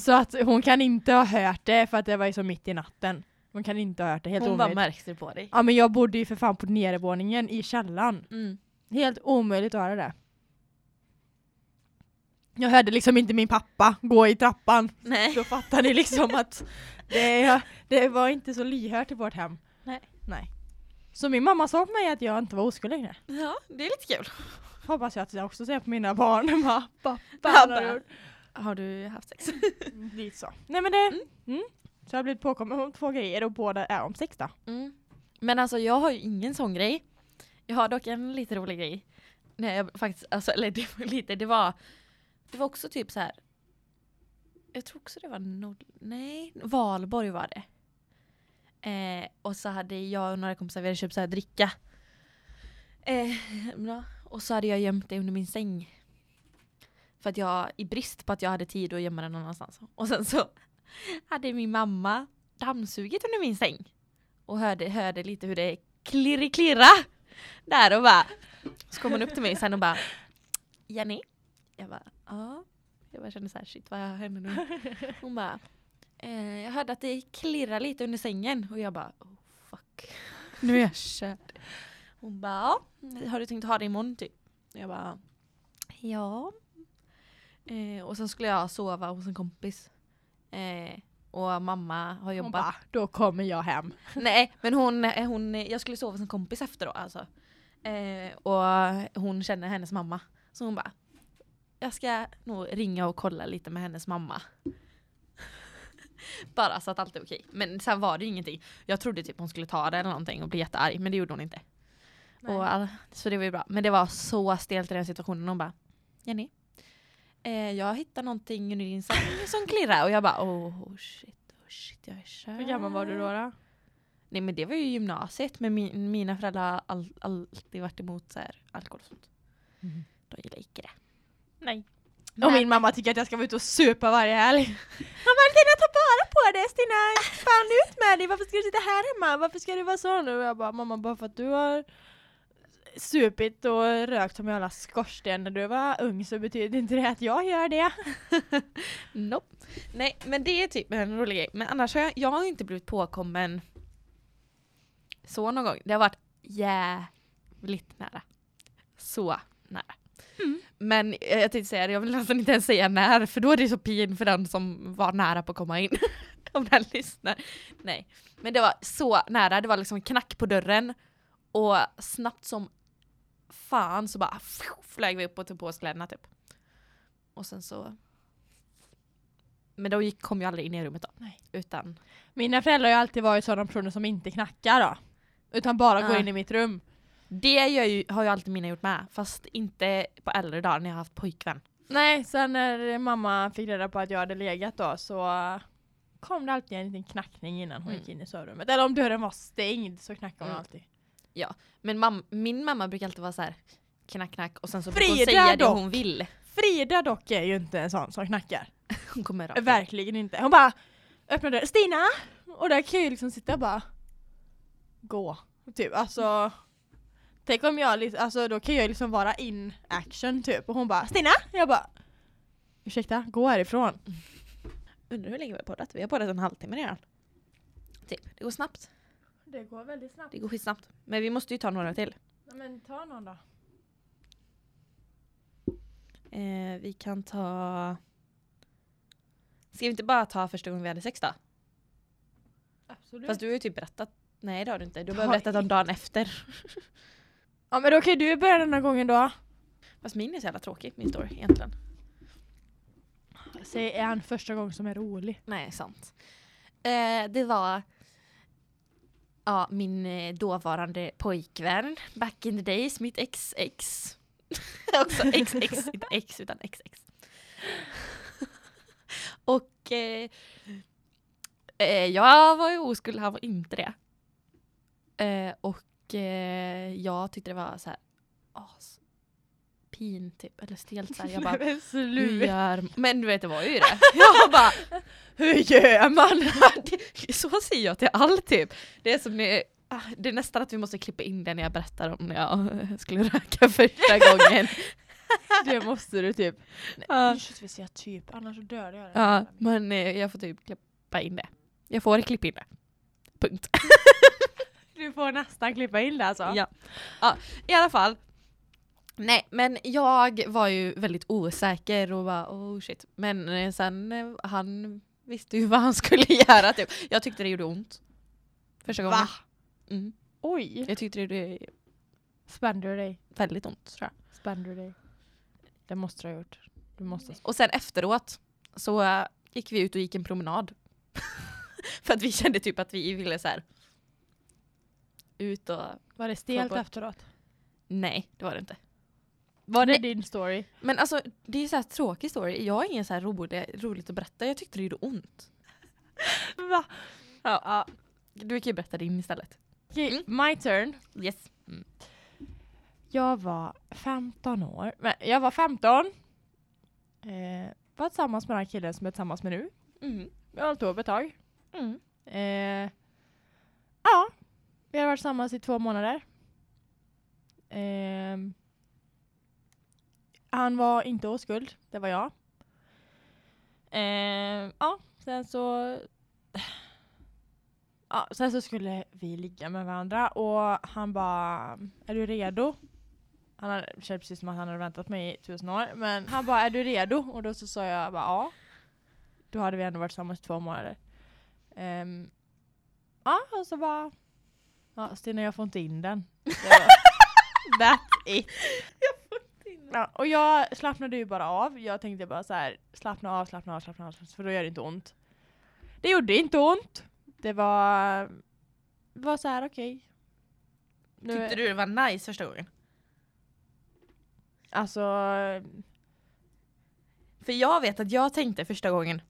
Speaker 2: så att hon kan inte ha hört det för att det var ju så mitt i natten. Hon kan inte ha hört det, helt
Speaker 1: Hon bara
Speaker 2: omöjligt.
Speaker 1: märkte det på dig.
Speaker 2: Ja men jag bodde ju för fan på nedervåningen i källaren.
Speaker 1: Mm.
Speaker 2: Helt omöjligt att höra det. Jag hörde liksom inte min pappa gå i trappan.
Speaker 1: Nej.
Speaker 2: Då fattar ni liksom att det, det var inte så lyhört i vårt hem.
Speaker 1: Nej.
Speaker 2: Nej. Så min mamma sa på mig att jag inte var oskuld längre.
Speaker 1: Ja det är lite kul.
Speaker 2: Hoppas jag att jag också säger på mina barn. [LAUGHS] Bara, "Pappa,
Speaker 1: Pappa."
Speaker 2: vad har du gjort?"
Speaker 1: Har du haft sex?
Speaker 2: Mm, Lite så. Nej men det... Mm. Så jag har blivit påkommen om två grejer och båda är om sex då.
Speaker 1: Mm. Men alltså jag har ju ingen sån grej. Jag har dock en lite rolig grej. Nej, jag faktiskt, alltså, eller det var lite, det var Det var också typ så här jag tror också det var Nord... Nej, Valborg var det. Eh, och så hade jag och några kompisar, vi hade köpt så här dricka. Eh, [LAUGHS] ja, och så hade jag gömt det under min säng. För att jag, i brist på att jag hade tid att gömma den någon annanstans. Och sen så [LAUGHS] hade min mamma dammsugit under min säng. Och hörde, hörde lite hur det klirriklirra där och bara. Så kom hon upp till mig sen och bara Jenny? Jag bara ja. Jag bara kände såhär shit vad hände nu? Hon bara eh, jag hörde att det klirrar lite under sängen och jag bara oh, fuck. Nu är jag körd. Hon bara ja. Har du tänkt ha det imorgon typ? Och Jag bara ja. Eh, och sen skulle jag sova hos en kompis. Eh, och mamma har
Speaker 2: Hon
Speaker 1: jobbat.
Speaker 2: bara, då kommer jag hem.
Speaker 1: Nej, men hon, eh, hon, jag skulle sova hos en kompis efter då alltså. Eh, och hon känner hennes mamma. Så hon bara, jag ska nog ringa och kolla lite med hennes mamma. [LAUGHS] Bara så att allt är okej. Men sen var det ju ingenting. Jag trodde typ hon skulle ta det eller någonting och bli jättearg, men det gjorde hon inte. Och all, så det var ju bra. Men det var så stelt i den situationen. Hon bara, Jenny, eh, jag hittar någonting under din säng som klirrar. Och jag bara, oh shit, oh shit, jag är kär.
Speaker 2: Hur gammal var du då? då?
Speaker 1: Nej men det var ju gymnasiet men min, mina föräldrar har all, alltid varit emot så här, alkohol och sånt.
Speaker 2: Mhm.
Speaker 1: De gillar inte det.
Speaker 2: Nej. Och
Speaker 1: Men-
Speaker 2: min mamma tycker att jag ska vara ute och supa varje [LAUGHS] helg. Hon bara, Stina ta bara på det Stina! Fan ut med dig! Varför ska du sitta här hemma? Varför ska du vara sån? Och jag bara, mamma bara för att du har supit och rökt som en jävla skorsten när du var ung så betyder inte det att jag gör det.
Speaker 1: Nope. Nej men det är typ en rolig grej. Men annars har jag, jag har ju inte blivit påkommen så någon gång. Det har varit jävligt nära. Så nära. Men jag, jag tänkte säga det, jag vill nästan inte ens säga när för då är det så pin för den som var nära på att komma in. [LAUGHS] Om den lyssnar. Nej. Men det var så nära, det var liksom knack på dörren och snabbt som fan så bara fju, flög vi upp och tog på oss kläderna typ. Och sen så... Men då gick, kom jag aldrig in i rummet då.
Speaker 2: Nej.
Speaker 1: Utan...
Speaker 2: Mina föräldrar har ju alltid varit sådana personer som inte knackar då. Utan bara går
Speaker 1: Ja.
Speaker 2: in i mitt rum.
Speaker 1: Det gör ju, har ju alltid mina gjort med. Fast inte på äldre dagar när jag har haft pojkvän.
Speaker 2: Nej, sen när mamma fick reda på att jag hade legat då så kom det alltid en liten knackning innan hon
Speaker 1: Mm.
Speaker 2: gick in i sovrummet. Eller om dörren var stängd så knackade hon
Speaker 1: Mm.
Speaker 2: alltid.
Speaker 1: Men mam, min mamma brukar alltid vara så här knack knack och sen så brukar hon
Speaker 2: Frida
Speaker 1: säga det
Speaker 2: dock.
Speaker 1: hon vill.
Speaker 2: Frida dock är ju inte en sån som knackar.
Speaker 1: Hon kommer rakt in.
Speaker 2: Verkligen inte. Hon bara öppnar dörren, Stina! Och där kan jag ju liksom sitta och bara gå. Typ alltså Tänk om jag liksom, alltså då kan jag ju liksom vara in action typ och hon bara Stina! Jag bara Ursäkta, gå härifrån.
Speaker 1: Undrar hur länge vi har poddat? Vi har poddat en halvtimme redan. Typ. Det går snabbt.
Speaker 2: Det går väldigt snabbt.
Speaker 1: Det går skitsnabbt. Men vi måste ju ta några till.
Speaker 2: men ta någon då.
Speaker 1: Eh, vi kan ta... Ska vi inte bara ta första gången vi hade sex då?
Speaker 2: Absolut.
Speaker 1: Fast du har ju typ berättat. Nej det har du inte. Du har
Speaker 2: Ta
Speaker 1: bara berättat om dagen efter.
Speaker 2: Ja men då kan ju du börja den här gången då.
Speaker 1: Fast min är så jävla tråkig, min story egentligen.
Speaker 2: Säg en första gång som är rolig.
Speaker 1: Nej, sant. Eh, det var ja, min eh, dåvarande pojkvän, back in the days, mitt ex-ex. [LAUGHS] Också ex-ex, inte ex utan ex-ex. [LAUGHS] Och eh, eh, jag var ju oskuld, han var inte det. Eh, och eh, jag tyckte det var så här as pin typ, eller stelt så här. Jag bara,
Speaker 2: Men
Speaker 1: hur
Speaker 2: sluta.
Speaker 1: gör Men du vet det var ju det. Jag bara,
Speaker 2: Hur gör man?
Speaker 1: det, [LAUGHS] så säger jag till allt typ. Det är, som, eh, ah, det är nästan att vi måste klippa in det när jag berättar om när jag [LAUGHS] skulle röka första gången.
Speaker 2: Det måste du typ.
Speaker 1: Ja.
Speaker 2: Ursäkta säga typ, annars så dödar jag
Speaker 1: Ja, men eh, jag får typ klippa in det. Jag får klippa in det. Punkt.
Speaker 2: Du får nästan klippa in det alltså.
Speaker 1: Ja. ja. I alla fall. Nej men jag var ju väldigt osäker och bara oh shit. Men eh, sen eh, han visste ju [LAUGHS] vad han skulle göra typ. Jag tyckte det gjorde ont. Första gången.
Speaker 2: Va?
Speaker 1: Mm.
Speaker 2: Oj!
Speaker 1: Jag tyckte det gjorde
Speaker 2: Spände du dig?
Speaker 1: väldigt ont tror jag.
Speaker 2: Spände du dig? Det måste du ha gjort. Du måste.
Speaker 1: Och sen efteråt så eh, gick vi ut och gick en promenad. [LAUGHS] För att vi kände typ att vi ville så här ut och...
Speaker 2: Var det
Speaker 1: stelt
Speaker 2: stelt efteråt?
Speaker 1: Nej, det var det inte.
Speaker 2: Var det
Speaker 1: Nej.
Speaker 2: din story?
Speaker 1: Men alltså det är så här tråkig story. Jag har ingen så här rolig, roligt att berätta. Jag tyckte det gjorde ont.
Speaker 2: Va?
Speaker 1: Ja. ja. Du kan ju berätta din istället.
Speaker 2: Okej,
Speaker 1: Mm.
Speaker 2: my turn.
Speaker 1: Yes.
Speaker 2: Jag var 15 år. Nej, jag var 15. Eh, var tillsammans med den här killen som jag är tillsammans med nu.
Speaker 1: Mm.
Speaker 2: Vi har hållit ihop ett tag.
Speaker 1: Mm.
Speaker 2: Eh, ja, vi har varit tillsammans i två månader. Ehm, han var inte oskuld, det var jag. Ehm, ja, sen så... Ja, sen så skulle vi ligga med varandra och han bara, är du redo? Han hade, kände precis som att han hade väntat mig i tusen år. Men han bara, är du redo? Och då så sa jag bara ja. Då hade vi ändå varit tillsammans i två månader. Ehm, ja, och så bara... Ja, Stina, jag får inte
Speaker 1: [LAUGHS]
Speaker 2: in den. Det var- That's it. Ja, och jag slappnade ju bara av. Jag tänkte bara så här, slappna av, slappna av, slappna av, för då gör det inte ont. Det gjorde inte ont. Det var, var så här okej. Nu-
Speaker 1: Tyckte du det var nice första gången?
Speaker 2: Alltså,
Speaker 1: För jag vet att jag tänkte första gången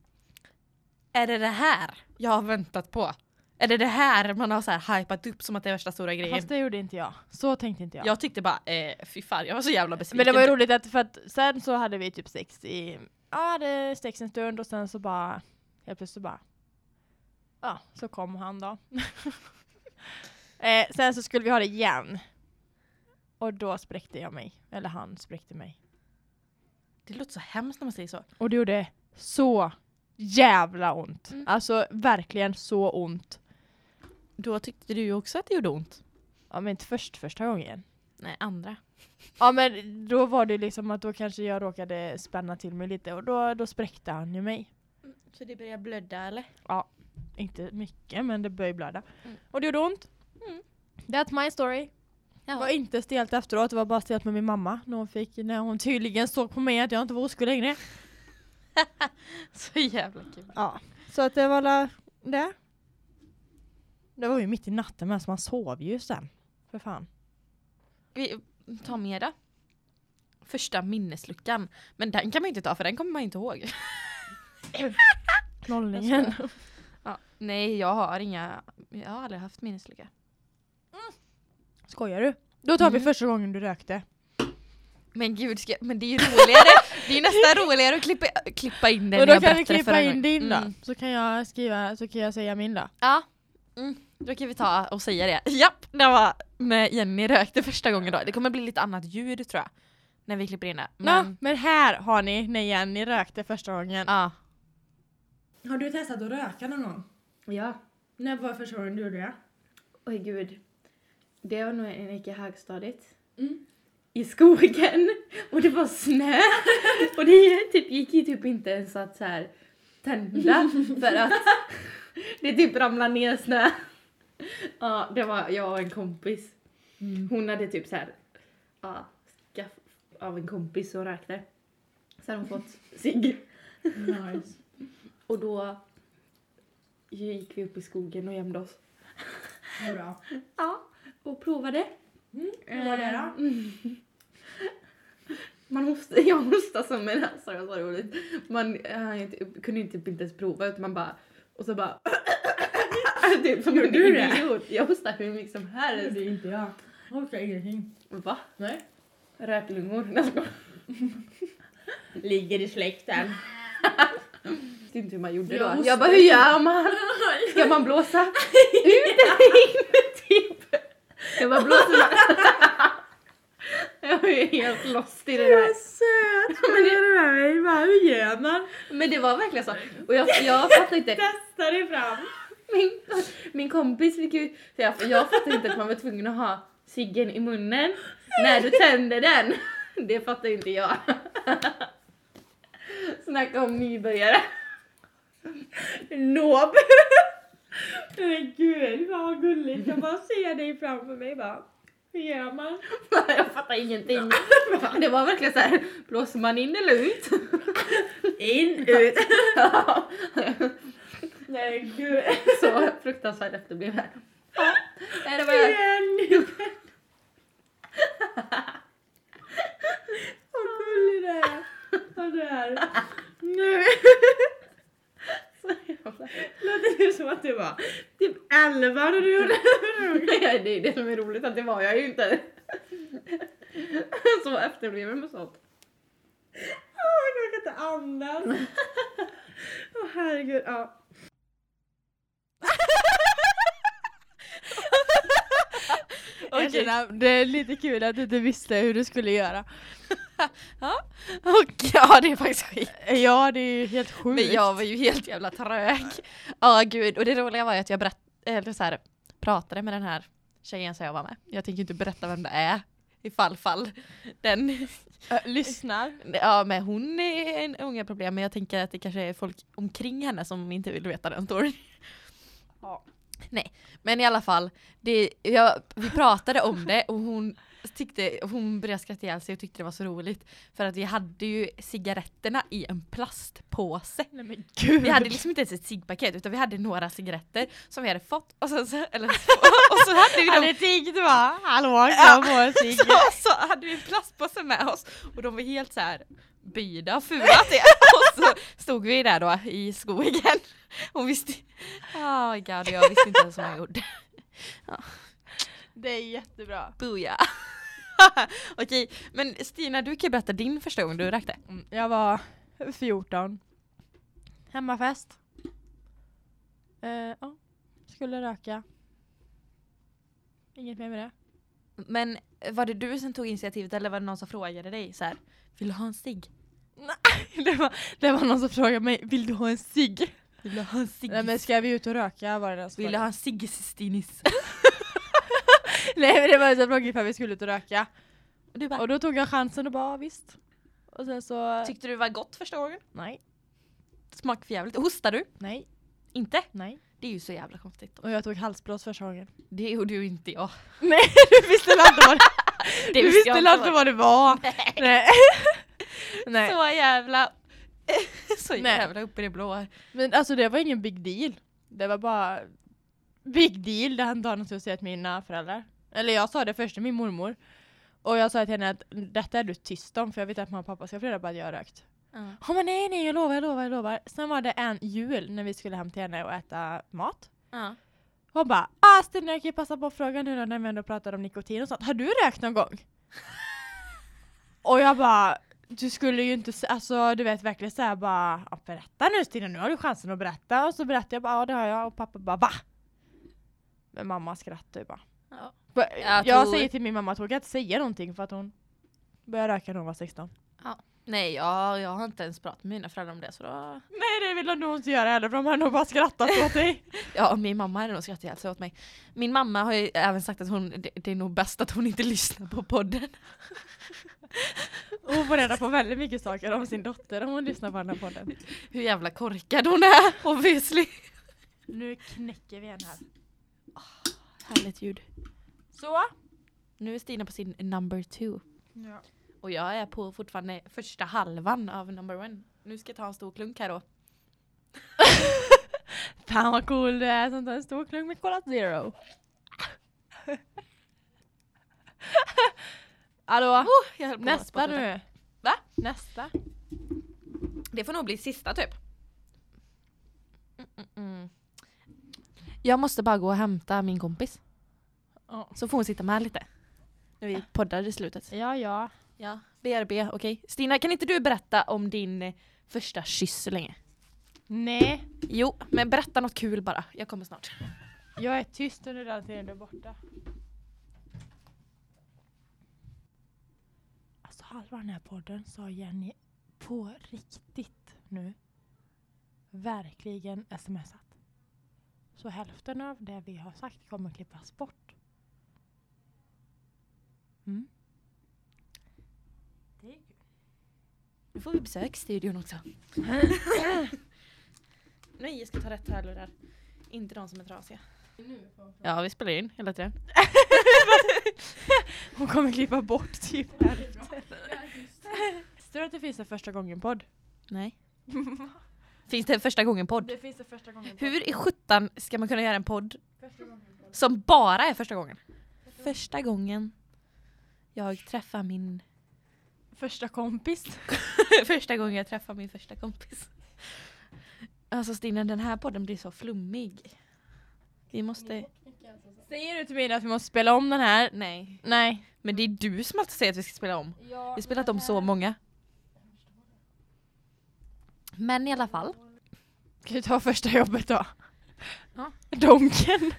Speaker 1: Är det det här jag har väntat på? Är det det här man har så här hypat upp som att det är värsta stora grejen?
Speaker 2: fast det gjorde inte jag. Så tänkte inte jag.
Speaker 1: Jag tyckte bara, eh, fy fan jag var så jävla besviken.
Speaker 2: Men det var ju roligt att, för att sen så hade vi typ sex i, ja hade sex en stund och sen så bara, helt plötsligt bara, ja så kom han då. [LAUGHS] eh, sen så skulle vi ha det igen. Och då spräckte jag mig, eller han spräckte mig.
Speaker 1: Det låter så hemskt när man säger så.
Speaker 2: Och det gjorde så jävla ont.
Speaker 1: Mm.
Speaker 2: Alltså verkligen så ont.
Speaker 1: Då tyckte du ju också att det gjorde ont.
Speaker 2: Ja men inte först, första gången.
Speaker 1: Nej, andra.
Speaker 2: Ja men då var det liksom att då kanske jag råkade spänna till mig lite och då, då spräckte han ju mig.
Speaker 1: Så det började blöda eller?
Speaker 2: Inte mycket, men det började blöda.
Speaker 1: Mm.
Speaker 2: Och det gjorde ont.
Speaker 1: Mm.
Speaker 2: That's my story.
Speaker 1: Ja.
Speaker 2: Det var inte stelt efteråt, det var bara stelt med min mamma. När hon, fick, när hon tydligen såg på mig att jag inte var oskuld längre.
Speaker 1: [LAUGHS] Så jävla kul.
Speaker 2: Ja. Så att det var la- det. Det var ju mitt i natten men så man sov ju sen. För fan.
Speaker 1: Vi tar med det. Första minnesluckan. Men den kan man ju inte ta för den kommer man ju inte ihåg.
Speaker 2: Nollningen.
Speaker 1: Jag Ja. Nej, jag har inga, jag har aldrig haft minneslucka.
Speaker 2: [LAUGHS] Skojar du? Då tar vi
Speaker 1: Mm.
Speaker 2: första gången du rökte.
Speaker 1: Men gud, ska, men det är ju roligare. det är ju [LAUGHS] nästan roligare att klippa, klippa in den
Speaker 2: Men då
Speaker 1: jag
Speaker 2: kan vi
Speaker 1: berättade
Speaker 2: klippa
Speaker 1: förra
Speaker 2: in
Speaker 1: gången.
Speaker 2: din då.
Speaker 1: Mm.
Speaker 2: Så kan jag skriva, så kan jag säga min då.
Speaker 1: Ja. Mm. Då kan vi ta och säga det. Japp, det var när Jenny rökte första gången då. Det kommer bli lite annat ljud tror jag. När vi klipper in det. Men,
Speaker 2: Nå, men här har ni när Jenny rökte första gången.
Speaker 1: ja.
Speaker 2: Har du testat att röka någon gång?
Speaker 3: Ja.
Speaker 2: När var första gången du gjorde det?
Speaker 3: Oj gud. Det var nog när jag gick i högstadiet.
Speaker 2: Mm.
Speaker 3: I skogen. Och det var [LAUGHS] snö. och det typ, gick ju typ inte ens att så här, tända. för att [LAUGHS] det typ ramlade ner snö. ja, det var jag och en kompis.
Speaker 2: Mm.
Speaker 3: Hon hade typ så här, ja, skaff av en kompis som rökte. Så hade hon fått cigg.
Speaker 2: Nice.
Speaker 3: Och då gick vi upp i skogen och gömde oss.
Speaker 2: Bra.
Speaker 3: Ja, och provade.
Speaker 2: hur var det då?
Speaker 3: Mm. [LAUGHS] Man hosta, [LAUGHS] jag hostade som en alltså, jag sa det roligt. Man eh, han inte, kunde inte typ inte ens prova utan man bara och så bara [LAUGHS] typ som en
Speaker 2: Gjorde du det?
Speaker 3: idiot. Jag hostade hur mycket som helst.
Speaker 2: Eh, är inte jag. Orkar ingenting.
Speaker 3: Va?
Speaker 2: Nej.
Speaker 3: Röklungor? Nej, jag skojar.
Speaker 2: Ligger i [LAUGHS] släkten.
Speaker 3: Jag visste inte hur man gjorde
Speaker 2: Jag
Speaker 3: då.
Speaker 2: hostade.
Speaker 3: Jag bara hur gör man? Ska man blåsa
Speaker 2: [LAUGHS]
Speaker 3: ut eller in? Typ. Jag bara blåser man. [LAUGHS] Jag är helt lost i det där.
Speaker 2: söt! [LAUGHS] Men det är med mig. Bara, hur gör man?
Speaker 3: Men det var verkligen så. Och jag, jag fattar inte.
Speaker 2: Testa dig fram.
Speaker 3: Min, min kompis fick ju säga, för jag fattar inte att man var tvungen att ha ciggen i munnen när du tände den. Det fattar inte jag. Snacka om nybörjare.
Speaker 2: Nob. [LAUGHS] Men gud vad gulligt. Jag bara ser dig framför mig bara. Hur gör man?
Speaker 3: Jag fattar ingenting. Det var verkligen så här, blåser man in eller ut?
Speaker 2: In, ut. [LAUGHS] Nej gud.
Speaker 3: Så fruktansvärt efterbliven.
Speaker 1: [LAUGHS]
Speaker 3: Ja, det var
Speaker 2: Hur gör ni?
Speaker 4: av det här. Nu
Speaker 3: Så jävla-
Speaker 4: lät det ju som att du var typ 11 när du gjorde
Speaker 3: Nej, det är det som är roligt att det var jag ju inte. Så efterbliven med sånt.
Speaker 4: Åh, jag kan inte andas. Åh herregud, ja.
Speaker 2: Elina, det är lite kul att du inte visste hur du
Speaker 1: [LAUGHS]
Speaker 2: skulle göra.
Speaker 1: Och ja, det är faktiskt skit.
Speaker 2: Ja, det är ju helt sjukt.
Speaker 1: Men jag var ju helt jävla trög. Ja gud, och det roliga var ju att jag berätt, eller så här, pratade med den här tjejen som jag var med. Jag tänker inte berätta vem det är. Ifall fall den,
Speaker 2: Ö, Äh, lyssnar.
Speaker 1: ja men hon är en unga problem men jag tänker att det kanske är folk omkring henne som inte vill veta den storyn.
Speaker 2: Ja.
Speaker 1: Nej, men i alla fall, det, jag, vi pratade om det och hon tyckte, hon började skratta ihjäl sig och tyckte det var så roligt. För att vi hade ju cigaretterna i en plastpåse.
Speaker 2: Nej men gud.
Speaker 1: Vi hade liksom inte ens ett ciggpaket utan vi hade några cigaretter som vi hade fått och sen så, eller, och så hade vi dem
Speaker 2: hade tiggt va? Hallå, kan jag få en
Speaker 1: [LAUGHS]
Speaker 2: cigg?
Speaker 1: så, så hade vi en plastpåse med oss och de var helt så här böjda och fula till och så stod vi där då i skogen och visste, oh my god jag visste inte ens vad jag [LAUGHS] gjorde.
Speaker 2: Det är jättebra.
Speaker 1: Booyah! Okej, men Stina du kan ju berätta din första gång du rökte.
Speaker 2: Mm, Jag var 14. Hemmafest. Eh, ja. Skulle röka. Inget mer med det. [LAUGHS]
Speaker 1: Men var det du som tog initiativet eller var det någon som frågade dig så här, vill du ha en cigg?
Speaker 2: Det var, det var någon som frågade mig, vill du ha en cigg?
Speaker 1: Vill du ha en cigg?
Speaker 2: Nej men ska vi ut och röka var det någon som
Speaker 1: Vill du ha en cigg Stinis?
Speaker 2: [LAUGHS] Nej men det var en som frågade ifall vi skulle ut och röka.
Speaker 1: Och du bara,
Speaker 2: Och då tog jag chansen och bara, "Ja, visst. Och sen så...
Speaker 1: tyckte du det var gott första gången?
Speaker 2: nej,
Speaker 1: Smak för jävligt. Hostar du?
Speaker 2: nej,
Speaker 1: Inte?
Speaker 2: nej.
Speaker 1: Det är ju så jävla konstigt.
Speaker 2: Och jag tog halsblås
Speaker 1: [LAUGHS]
Speaker 2: första gången.
Speaker 1: Det gjorde ju inte jag.
Speaker 2: Nej du visste väl inte vad det,
Speaker 1: Det
Speaker 2: du visste väl inte vad det var?
Speaker 1: Nej. [LAUGHS]
Speaker 2: Nej. nej.
Speaker 1: Så jävla... [LAUGHS] så
Speaker 2: Nej.
Speaker 1: jävla upp i det blå.
Speaker 2: Men alltså det var ingen big deal. Det var bara big deal det han dagen jag skulle säga till mina föräldrar. Eller jag sa det först till min mormor. Och jag sa till henne att detta är du tyst om för jag vet att mamma och pappa ska få reda på att jag har rökt.
Speaker 1: Mm.
Speaker 2: Hon bara nej nej jag lovar, jag lovar, jag lovar. Sen var det en jul när vi skulle hem till henne och äta mat.
Speaker 1: Ja.
Speaker 2: Hon bara ah Stina jag kan ju passa på att fråga nu då när vi ändå pratar om nikotin och sånt. Har du rökt
Speaker 1: [LAUGHS]
Speaker 2: någon gång? och jag bara du skulle ju inte, s- alltså du vet verkligen såhär bara ja, berätta nu Stina nu har du chansen att berätta och så berättade jag bara ja det har jag och pappa bara va? Men mamma skrattade ju bara.
Speaker 1: Ja.
Speaker 2: Ba-
Speaker 1: Jag
Speaker 2: Jag,
Speaker 1: tror-
Speaker 2: säger till min mamma att hon kan inte säga någonting för att hon började röka när hon var 16.
Speaker 1: Nej, jag, jag har inte ens pratat med mina föräldrar om det. Så då...
Speaker 2: Nej det vill hon nog inte göra heller för de har nog bara skrattat
Speaker 1: [LAUGHS]
Speaker 2: åt dig.
Speaker 1: Ja, min mamma hade nog skrattat ihjäl sig åt mig. Min mamma har ju även sagt att hon, det, det är nog bäst att hon inte lyssnar på podden. [LAUGHS]
Speaker 2: Hon får reda på väldigt mycket saker om sin dotter om hon lyssnar på den här podden.
Speaker 1: Hur jävla korkad hon är, [LAUGHS] obviously.
Speaker 2: Nu knäcker vi en här.
Speaker 1: Härligt ljud.
Speaker 2: Så.
Speaker 1: Nu är Stina på sin number two.
Speaker 2: Ja.
Speaker 1: Och jag är på fortfarande första halvan av number one. Nu ska jag ta en stor klunk här då.
Speaker 2: Fan vad cool du är som tar en stor klunk med Cola Zero. Hallå,
Speaker 1: Oh, Jag höll på att
Speaker 2: nästa
Speaker 1: spotta ut det.
Speaker 2: nu.
Speaker 1: Va?
Speaker 2: Nästa.
Speaker 1: Det får nog bli sista typ. Mm, mm, mm. Jag måste bara gå och hämta min kompis.
Speaker 2: Ja.
Speaker 1: Så får hon sitta med lite. När vi poddar i slutet.
Speaker 2: Ja, ja.
Speaker 1: Ja, BRB, okej. Stina, kan inte du berätta om din eh, första kyss så länge?
Speaker 2: Nej,
Speaker 1: Jo, men berätta något kul bara. Jag kommer snart.
Speaker 2: jag är tyst under den tiden du är borta. Alltså halva den här podden sa Jenny på riktigt nu verkligen smsat. Så hälften av det vi har sagt kommer klippas bort. Mm.
Speaker 1: Nu får vi besök i studion också. [LAUGHS] Nej, jag ska ta rätt hörlurar. Inte de som är trasiga. Ja, vi spelar in hela tiden.
Speaker 2: Hon kommer klippa bort typ hälften. Tror du att det finns en första gången-podd?
Speaker 1: Nej. Finns det en första gången podd?
Speaker 2: Det finns en första gången
Speaker 1: Hur i sjutton ska man kunna göra en podd som bara är första gången? Första gången jag träffar min
Speaker 2: första kompis.
Speaker 1: [LAUGHS] första gången jag träffade min första kompis. Alltså Stina, den här podden blir så flummig. Vi måste...
Speaker 2: Säger du till mig att vi måste spela om den här?
Speaker 1: Nej.
Speaker 2: Nej.
Speaker 1: Men det är du som alltid säger att vi ska spela om. Vi har spelat om så många. Men i alla fall.
Speaker 2: Ska vi ta första jobbet då?
Speaker 1: Ja.
Speaker 2: Donken.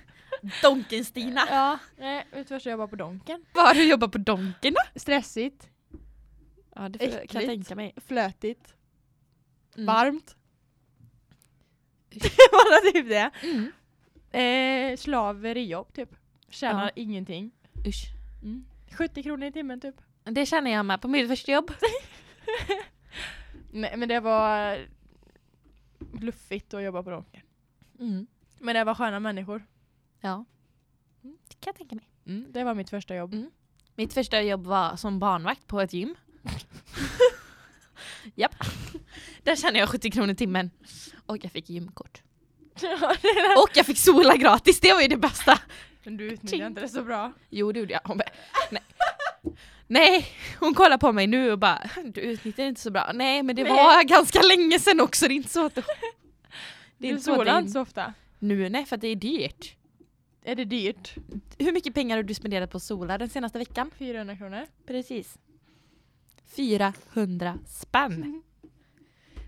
Speaker 1: Donken-Stina!
Speaker 2: Ja. Nej, mitt första jobb var på Donken.
Speaker 1: Vad har du jobbat på Donken då?
Speaker 2: Stressigt,
Speaker 1: Ja, det
Speaker 2: får- kan jag tänka
Speaker 1: mig.
Speaker 2: flötigt,
Speaker 1: Mm.
Speaker 2: varmt. Det [LAUGHS] var typ det.
Speaker 1: Mm.
Speaker 2: Eh, slaverijobb typ. Tjänar
Speaker 1: Ja.
Speaker 2: ingenting.
Speaker 1: Usch.
Speaker 2: 70 kronor i timmen typ.
Speaker 1: Det känner jag med på mitt första jobb. [LAUGHS]
Speaker 2: Nej men det var luffigt att jobba på Donken.
Speaker 1: Mm.
Speaker 2: Men det var sköna människor.
Speaker 1: Ja. Mm, Det kan jag tänka mig.
Speaker 2: Det var mitt första jobb.
Speaker 1: Mm. [LAUGHS] Mitt första jobb var som barnvakt på ett gym. [LAUGHS] Japp. Där tjänade jag 70 kronor i timmen. Och jag fick gymkort. Och jag fick sola gratis, det var ju det bästa!
Speaker 2: men du
Speaker 1: Ching.
Speaker 2: utnyttjade inte det så bra.
Speaker 1: Jo det gjorde jag. Hon bara, nej. nej, hon kollar på mig nu och bara du utnyttjar inte så bra. Nej men det
Speaker 2: Nej.
Speaker 1: var ganska länge sedan också, det är inte så att det är
Speaker 2: Du
Speaker 1: inte så att det
Speaker 2: solar inte
Speaker 1: är
Speaker 2: så ofta.
Speaker 1: nu, nej för att det är dyrt.
Speaker 2: Är det dyrt?
Speaker 1: Hur mycket pengar har du spenderat på sola den senaste veckan? [LAUGHS]
Speaker 2: 400 kronor.
Speaker 1: Precis. 400 spänn. [LAUGHS]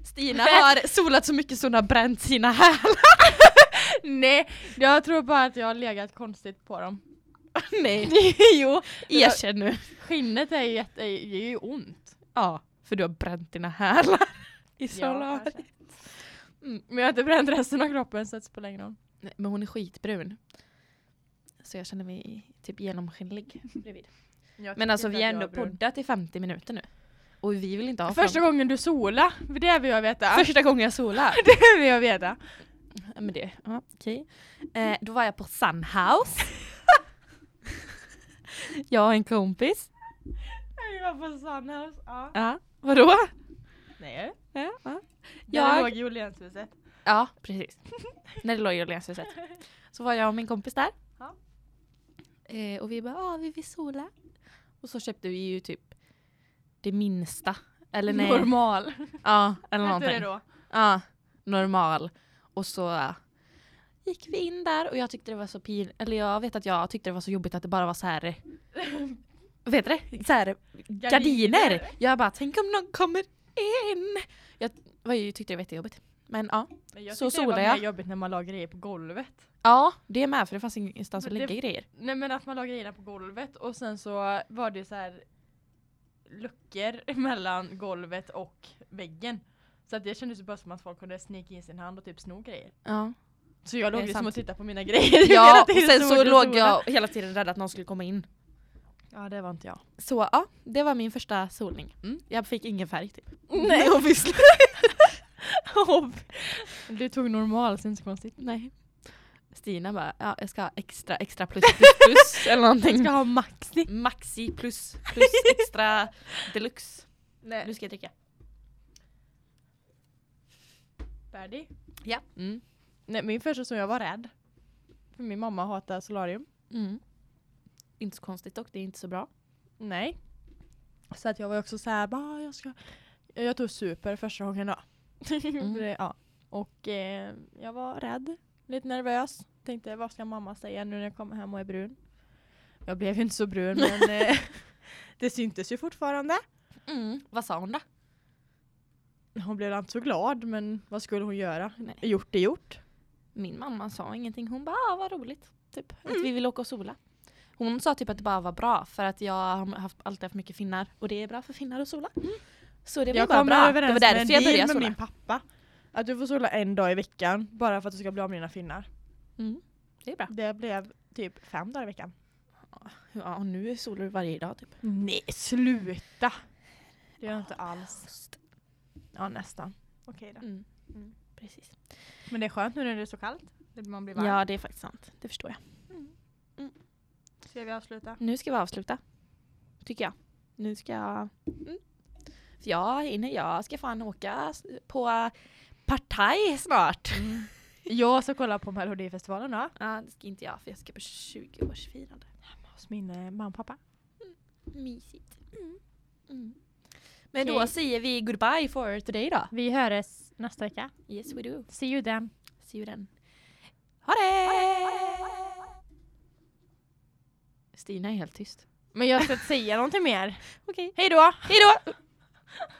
Speaker 1: Stina har solat så mycket så hon har bränt sina hälar.
Speaker 2: Nej, jag tror bara att jag har legat konstigt på dem.
Speaker 1: [LAUGHS] [LAUGHS] Nej,
Speaker 2: jo,
Speaker 1: erkänn nu.
Speaker 2: skinnet är ju, jätte, det gör ju ont.
Speaker 1: Ja, för du har bränt dina hälar. [LAUGHS] I solar.
Speaker 2: kanske.
Speaker 1: Mm.
Speaker 2: Men jag har inte bränt resten av kroppen så det spelar ingen roll.
Speaker 1: Nej, men hon är skitbrun. Så jag känner mig typ [LAUGHS] genomskinlig bredvid. Men alltså vi har ändå poddat i 50 minuter nu. Och vi vill inte ha
Speaker 2: Första gången du sola, för det vill jag veta.
Speaker 1: Första gången jag solar.
Speaker 2: [LAUGHS] det vill jag veta.
Speaker 1: ja, men det, ja, okej. eh, då var jag på [LAUGHS] Sunhouse. jag och en kompis.
Speaker 2: Jag var på Sunhouse, ja.
Speaker 1: Ja, vadå?
Speaker 2: Nej.
Speaker 1: Ja, ja.
Speaker 2: Jag
Speaker 1: Jag,
Speaker 2: låg i Åhlénshuset.
Speaker 1: ja precis. [LAUGHS] När det låg i Åhlénshuset. Så var jag och min kompis där.
Speaker 2: Ja.
Speaker 1: Eh, och vi bara, ah, vi vill sola. Och så köpte vi ju typ det minsta. Eller nej.
Speaker 2: Normal.
Speaker 1: Ja, eller
Speaker 2: Hette det
Speaker 1: någonting.
Speaker 2: då?
Speaker 1: Ja, normal. Och så ja, gick vi in där och jag tyckte det var så pin... Eller jag vet att jag tyckte det var så jobbigt att det bara var så
Speaker 2: [LAUGHS]
Speaker 1: här... Vet du det? Så här gardiner! Jag bara, tänk om någon kommer in! Jag var ju, tyckte det var jättejobbigt. Men ja.
Speaker 2: Men jag
Speaker 1: Så
Speaker 2: tyckte det var
Speaker 1: solar jag.
Speaker 2: mer jobbigt när man la grejer på golvet.
Speaker 1: Ja, det är med för det fanns ingenstans att
Speaker 2: Men det-
Speaker 1: lägga grejer.
Speaker 2: Nej men att man la grejerna på golvet och sen så var det så här luckor [LAUGHS] mellan golvet och väggen. Så att det kändes ju bara som att folk kunde snika in sin hand och typ sno grejer.
Speaker 1: [LAUGHS] Ja,
Speaker 2: Så jag
Speaker 1: Det
Speaker 2: låg
Speaker 1: är
Speaker 2: ju
Speaker 1: sant.
Speaker 2: som och tittade på mina [LAUGHS] grejer
Speaker 1: ja
Speaker 2: hela
Speaker 1: och
Speaker 2: tiden,
Speaker 1: sen så
Speaker 2: stod och
Speaker 1: låg
Speaker 2: solade.
Speaker 1: jag hela tiden rädd att någon skulle komma in.
Speaker 2: Ja det var inte jag.
Speaker 1: Så ja, det var min första solning.
Speaker 2: Mm.
Speaker 1: Jag fick ingen färg typ.
Speaker 2: Nej.
Speaker 1: [LAUGHS] obviously.
Speaker 2: Du tog normal, så inte så konstigt.
Speaker 1: Nej. Stina bara, ja jag ska ha extra, extra plus plus [LAUGHS] plus eller någonting.
Speaker 2: ha maxi.
Speaker 1: Maxi plus plus extra deluxe.
Speaker 2: Nej.
Speaker 1: Nu ska jag dricka.
Speaker 2: Färdig.
Speaker 1: Ja.
Speaker 2: Mm. Nej min första som jag var rädd. För min mamma hatar solarium.
Speaker 1: Mm. Inte så konstigt dock, det är inte så bra.
Speaker 2: Nej. Så att jag var också så här, bara jag ska... Jag tog super första gången då.
Speaker 1: Mm.
Speaker 2: För [LAUGHS] det- ja. Och eh, jag var rädd, lite nervös. Tänkte vad ska mamma säga nu när jag kommer hem och är brun? Jag blev ju inte så brun
Speaker 1: [LAUGHS]
Speaker 2: men eh, det syntes ju fortfarande.
Speaker 1: Vad sa hon då?
Speaker 2: Hon blev inte så glad men vad skulle hon göra?
Speaker 1: Nej.
Speaker 2: Gjort är gjort.
Speaker 1: Min mamma sa ingenting, hon bara ah, vad roligt. Typ. Att vi vill åka och sola. Hon sa typ att det bara var bra för att jag har haft, alltid haft mycket finnar och det är bra för finnar att sola. Så det var
Speaker 2: Jag
Speaker 1: bara
Speaker 2: kom
Speaker 1: bra. Det
Speaker 2: överens
Speaker 1: var
Speaker 2: med en
Speaker 1: därför jag
Speaker 2: deal
Speaker 1: började
Speaker 2: med
Speaker 1: sola.
Speaker 2: min pappa. Att du får sola en dag i veckan bara för att du ska bli av med dina finnar.
Speaker 1: Mm. Det är bra.
Speaker 2: Det blev typ fem dagar i veckan.
Speaker 1: Ja, och nu solar du varje dag typ.
Speaker 2: Nej, sluta! Det gör jag inte alls. Ja, nästan. Okej då.
Speaker 1: Mm. Precis.
Speaker 2: Men det är skönt nu när det är så kallt. Det- Man blir varm.
Speaker 1: Ja, det är faktiskt sant. Det förstår jag.
Speaker 2: Ska vi avsluta?
Speaker 1: Nu ska vi avsluta. Tycker jag. Nu ska jag... Mm. För jag hinner, jag ska fan åka s- på partaj snart.
Speaker 2: Jag ska kolla på Melodifestivalen då.
Speaker 1: Ja, det ska inte jag för jag ska på 20-årsfirande.
Speaker 2: Hos min eh, mamma och pappa.
Speaker 1: Mysigt. Mm. Mm. Men då
Speaker 2: Okej.
Speaker 1: säger vi goodbye for today då.
Speaker 2: Vi hörs nästa vecka.
Speaker 1: Yes we do.
Speaker 2: See you then.
Speaker 1: See you then. Ha det! Stina är helt tyst.
Speaker 2: Men jag ska inte säga någonting mer.
Speaker 1: Okej.
Speaker 2: Hej då!
Speaker 1: Hej då!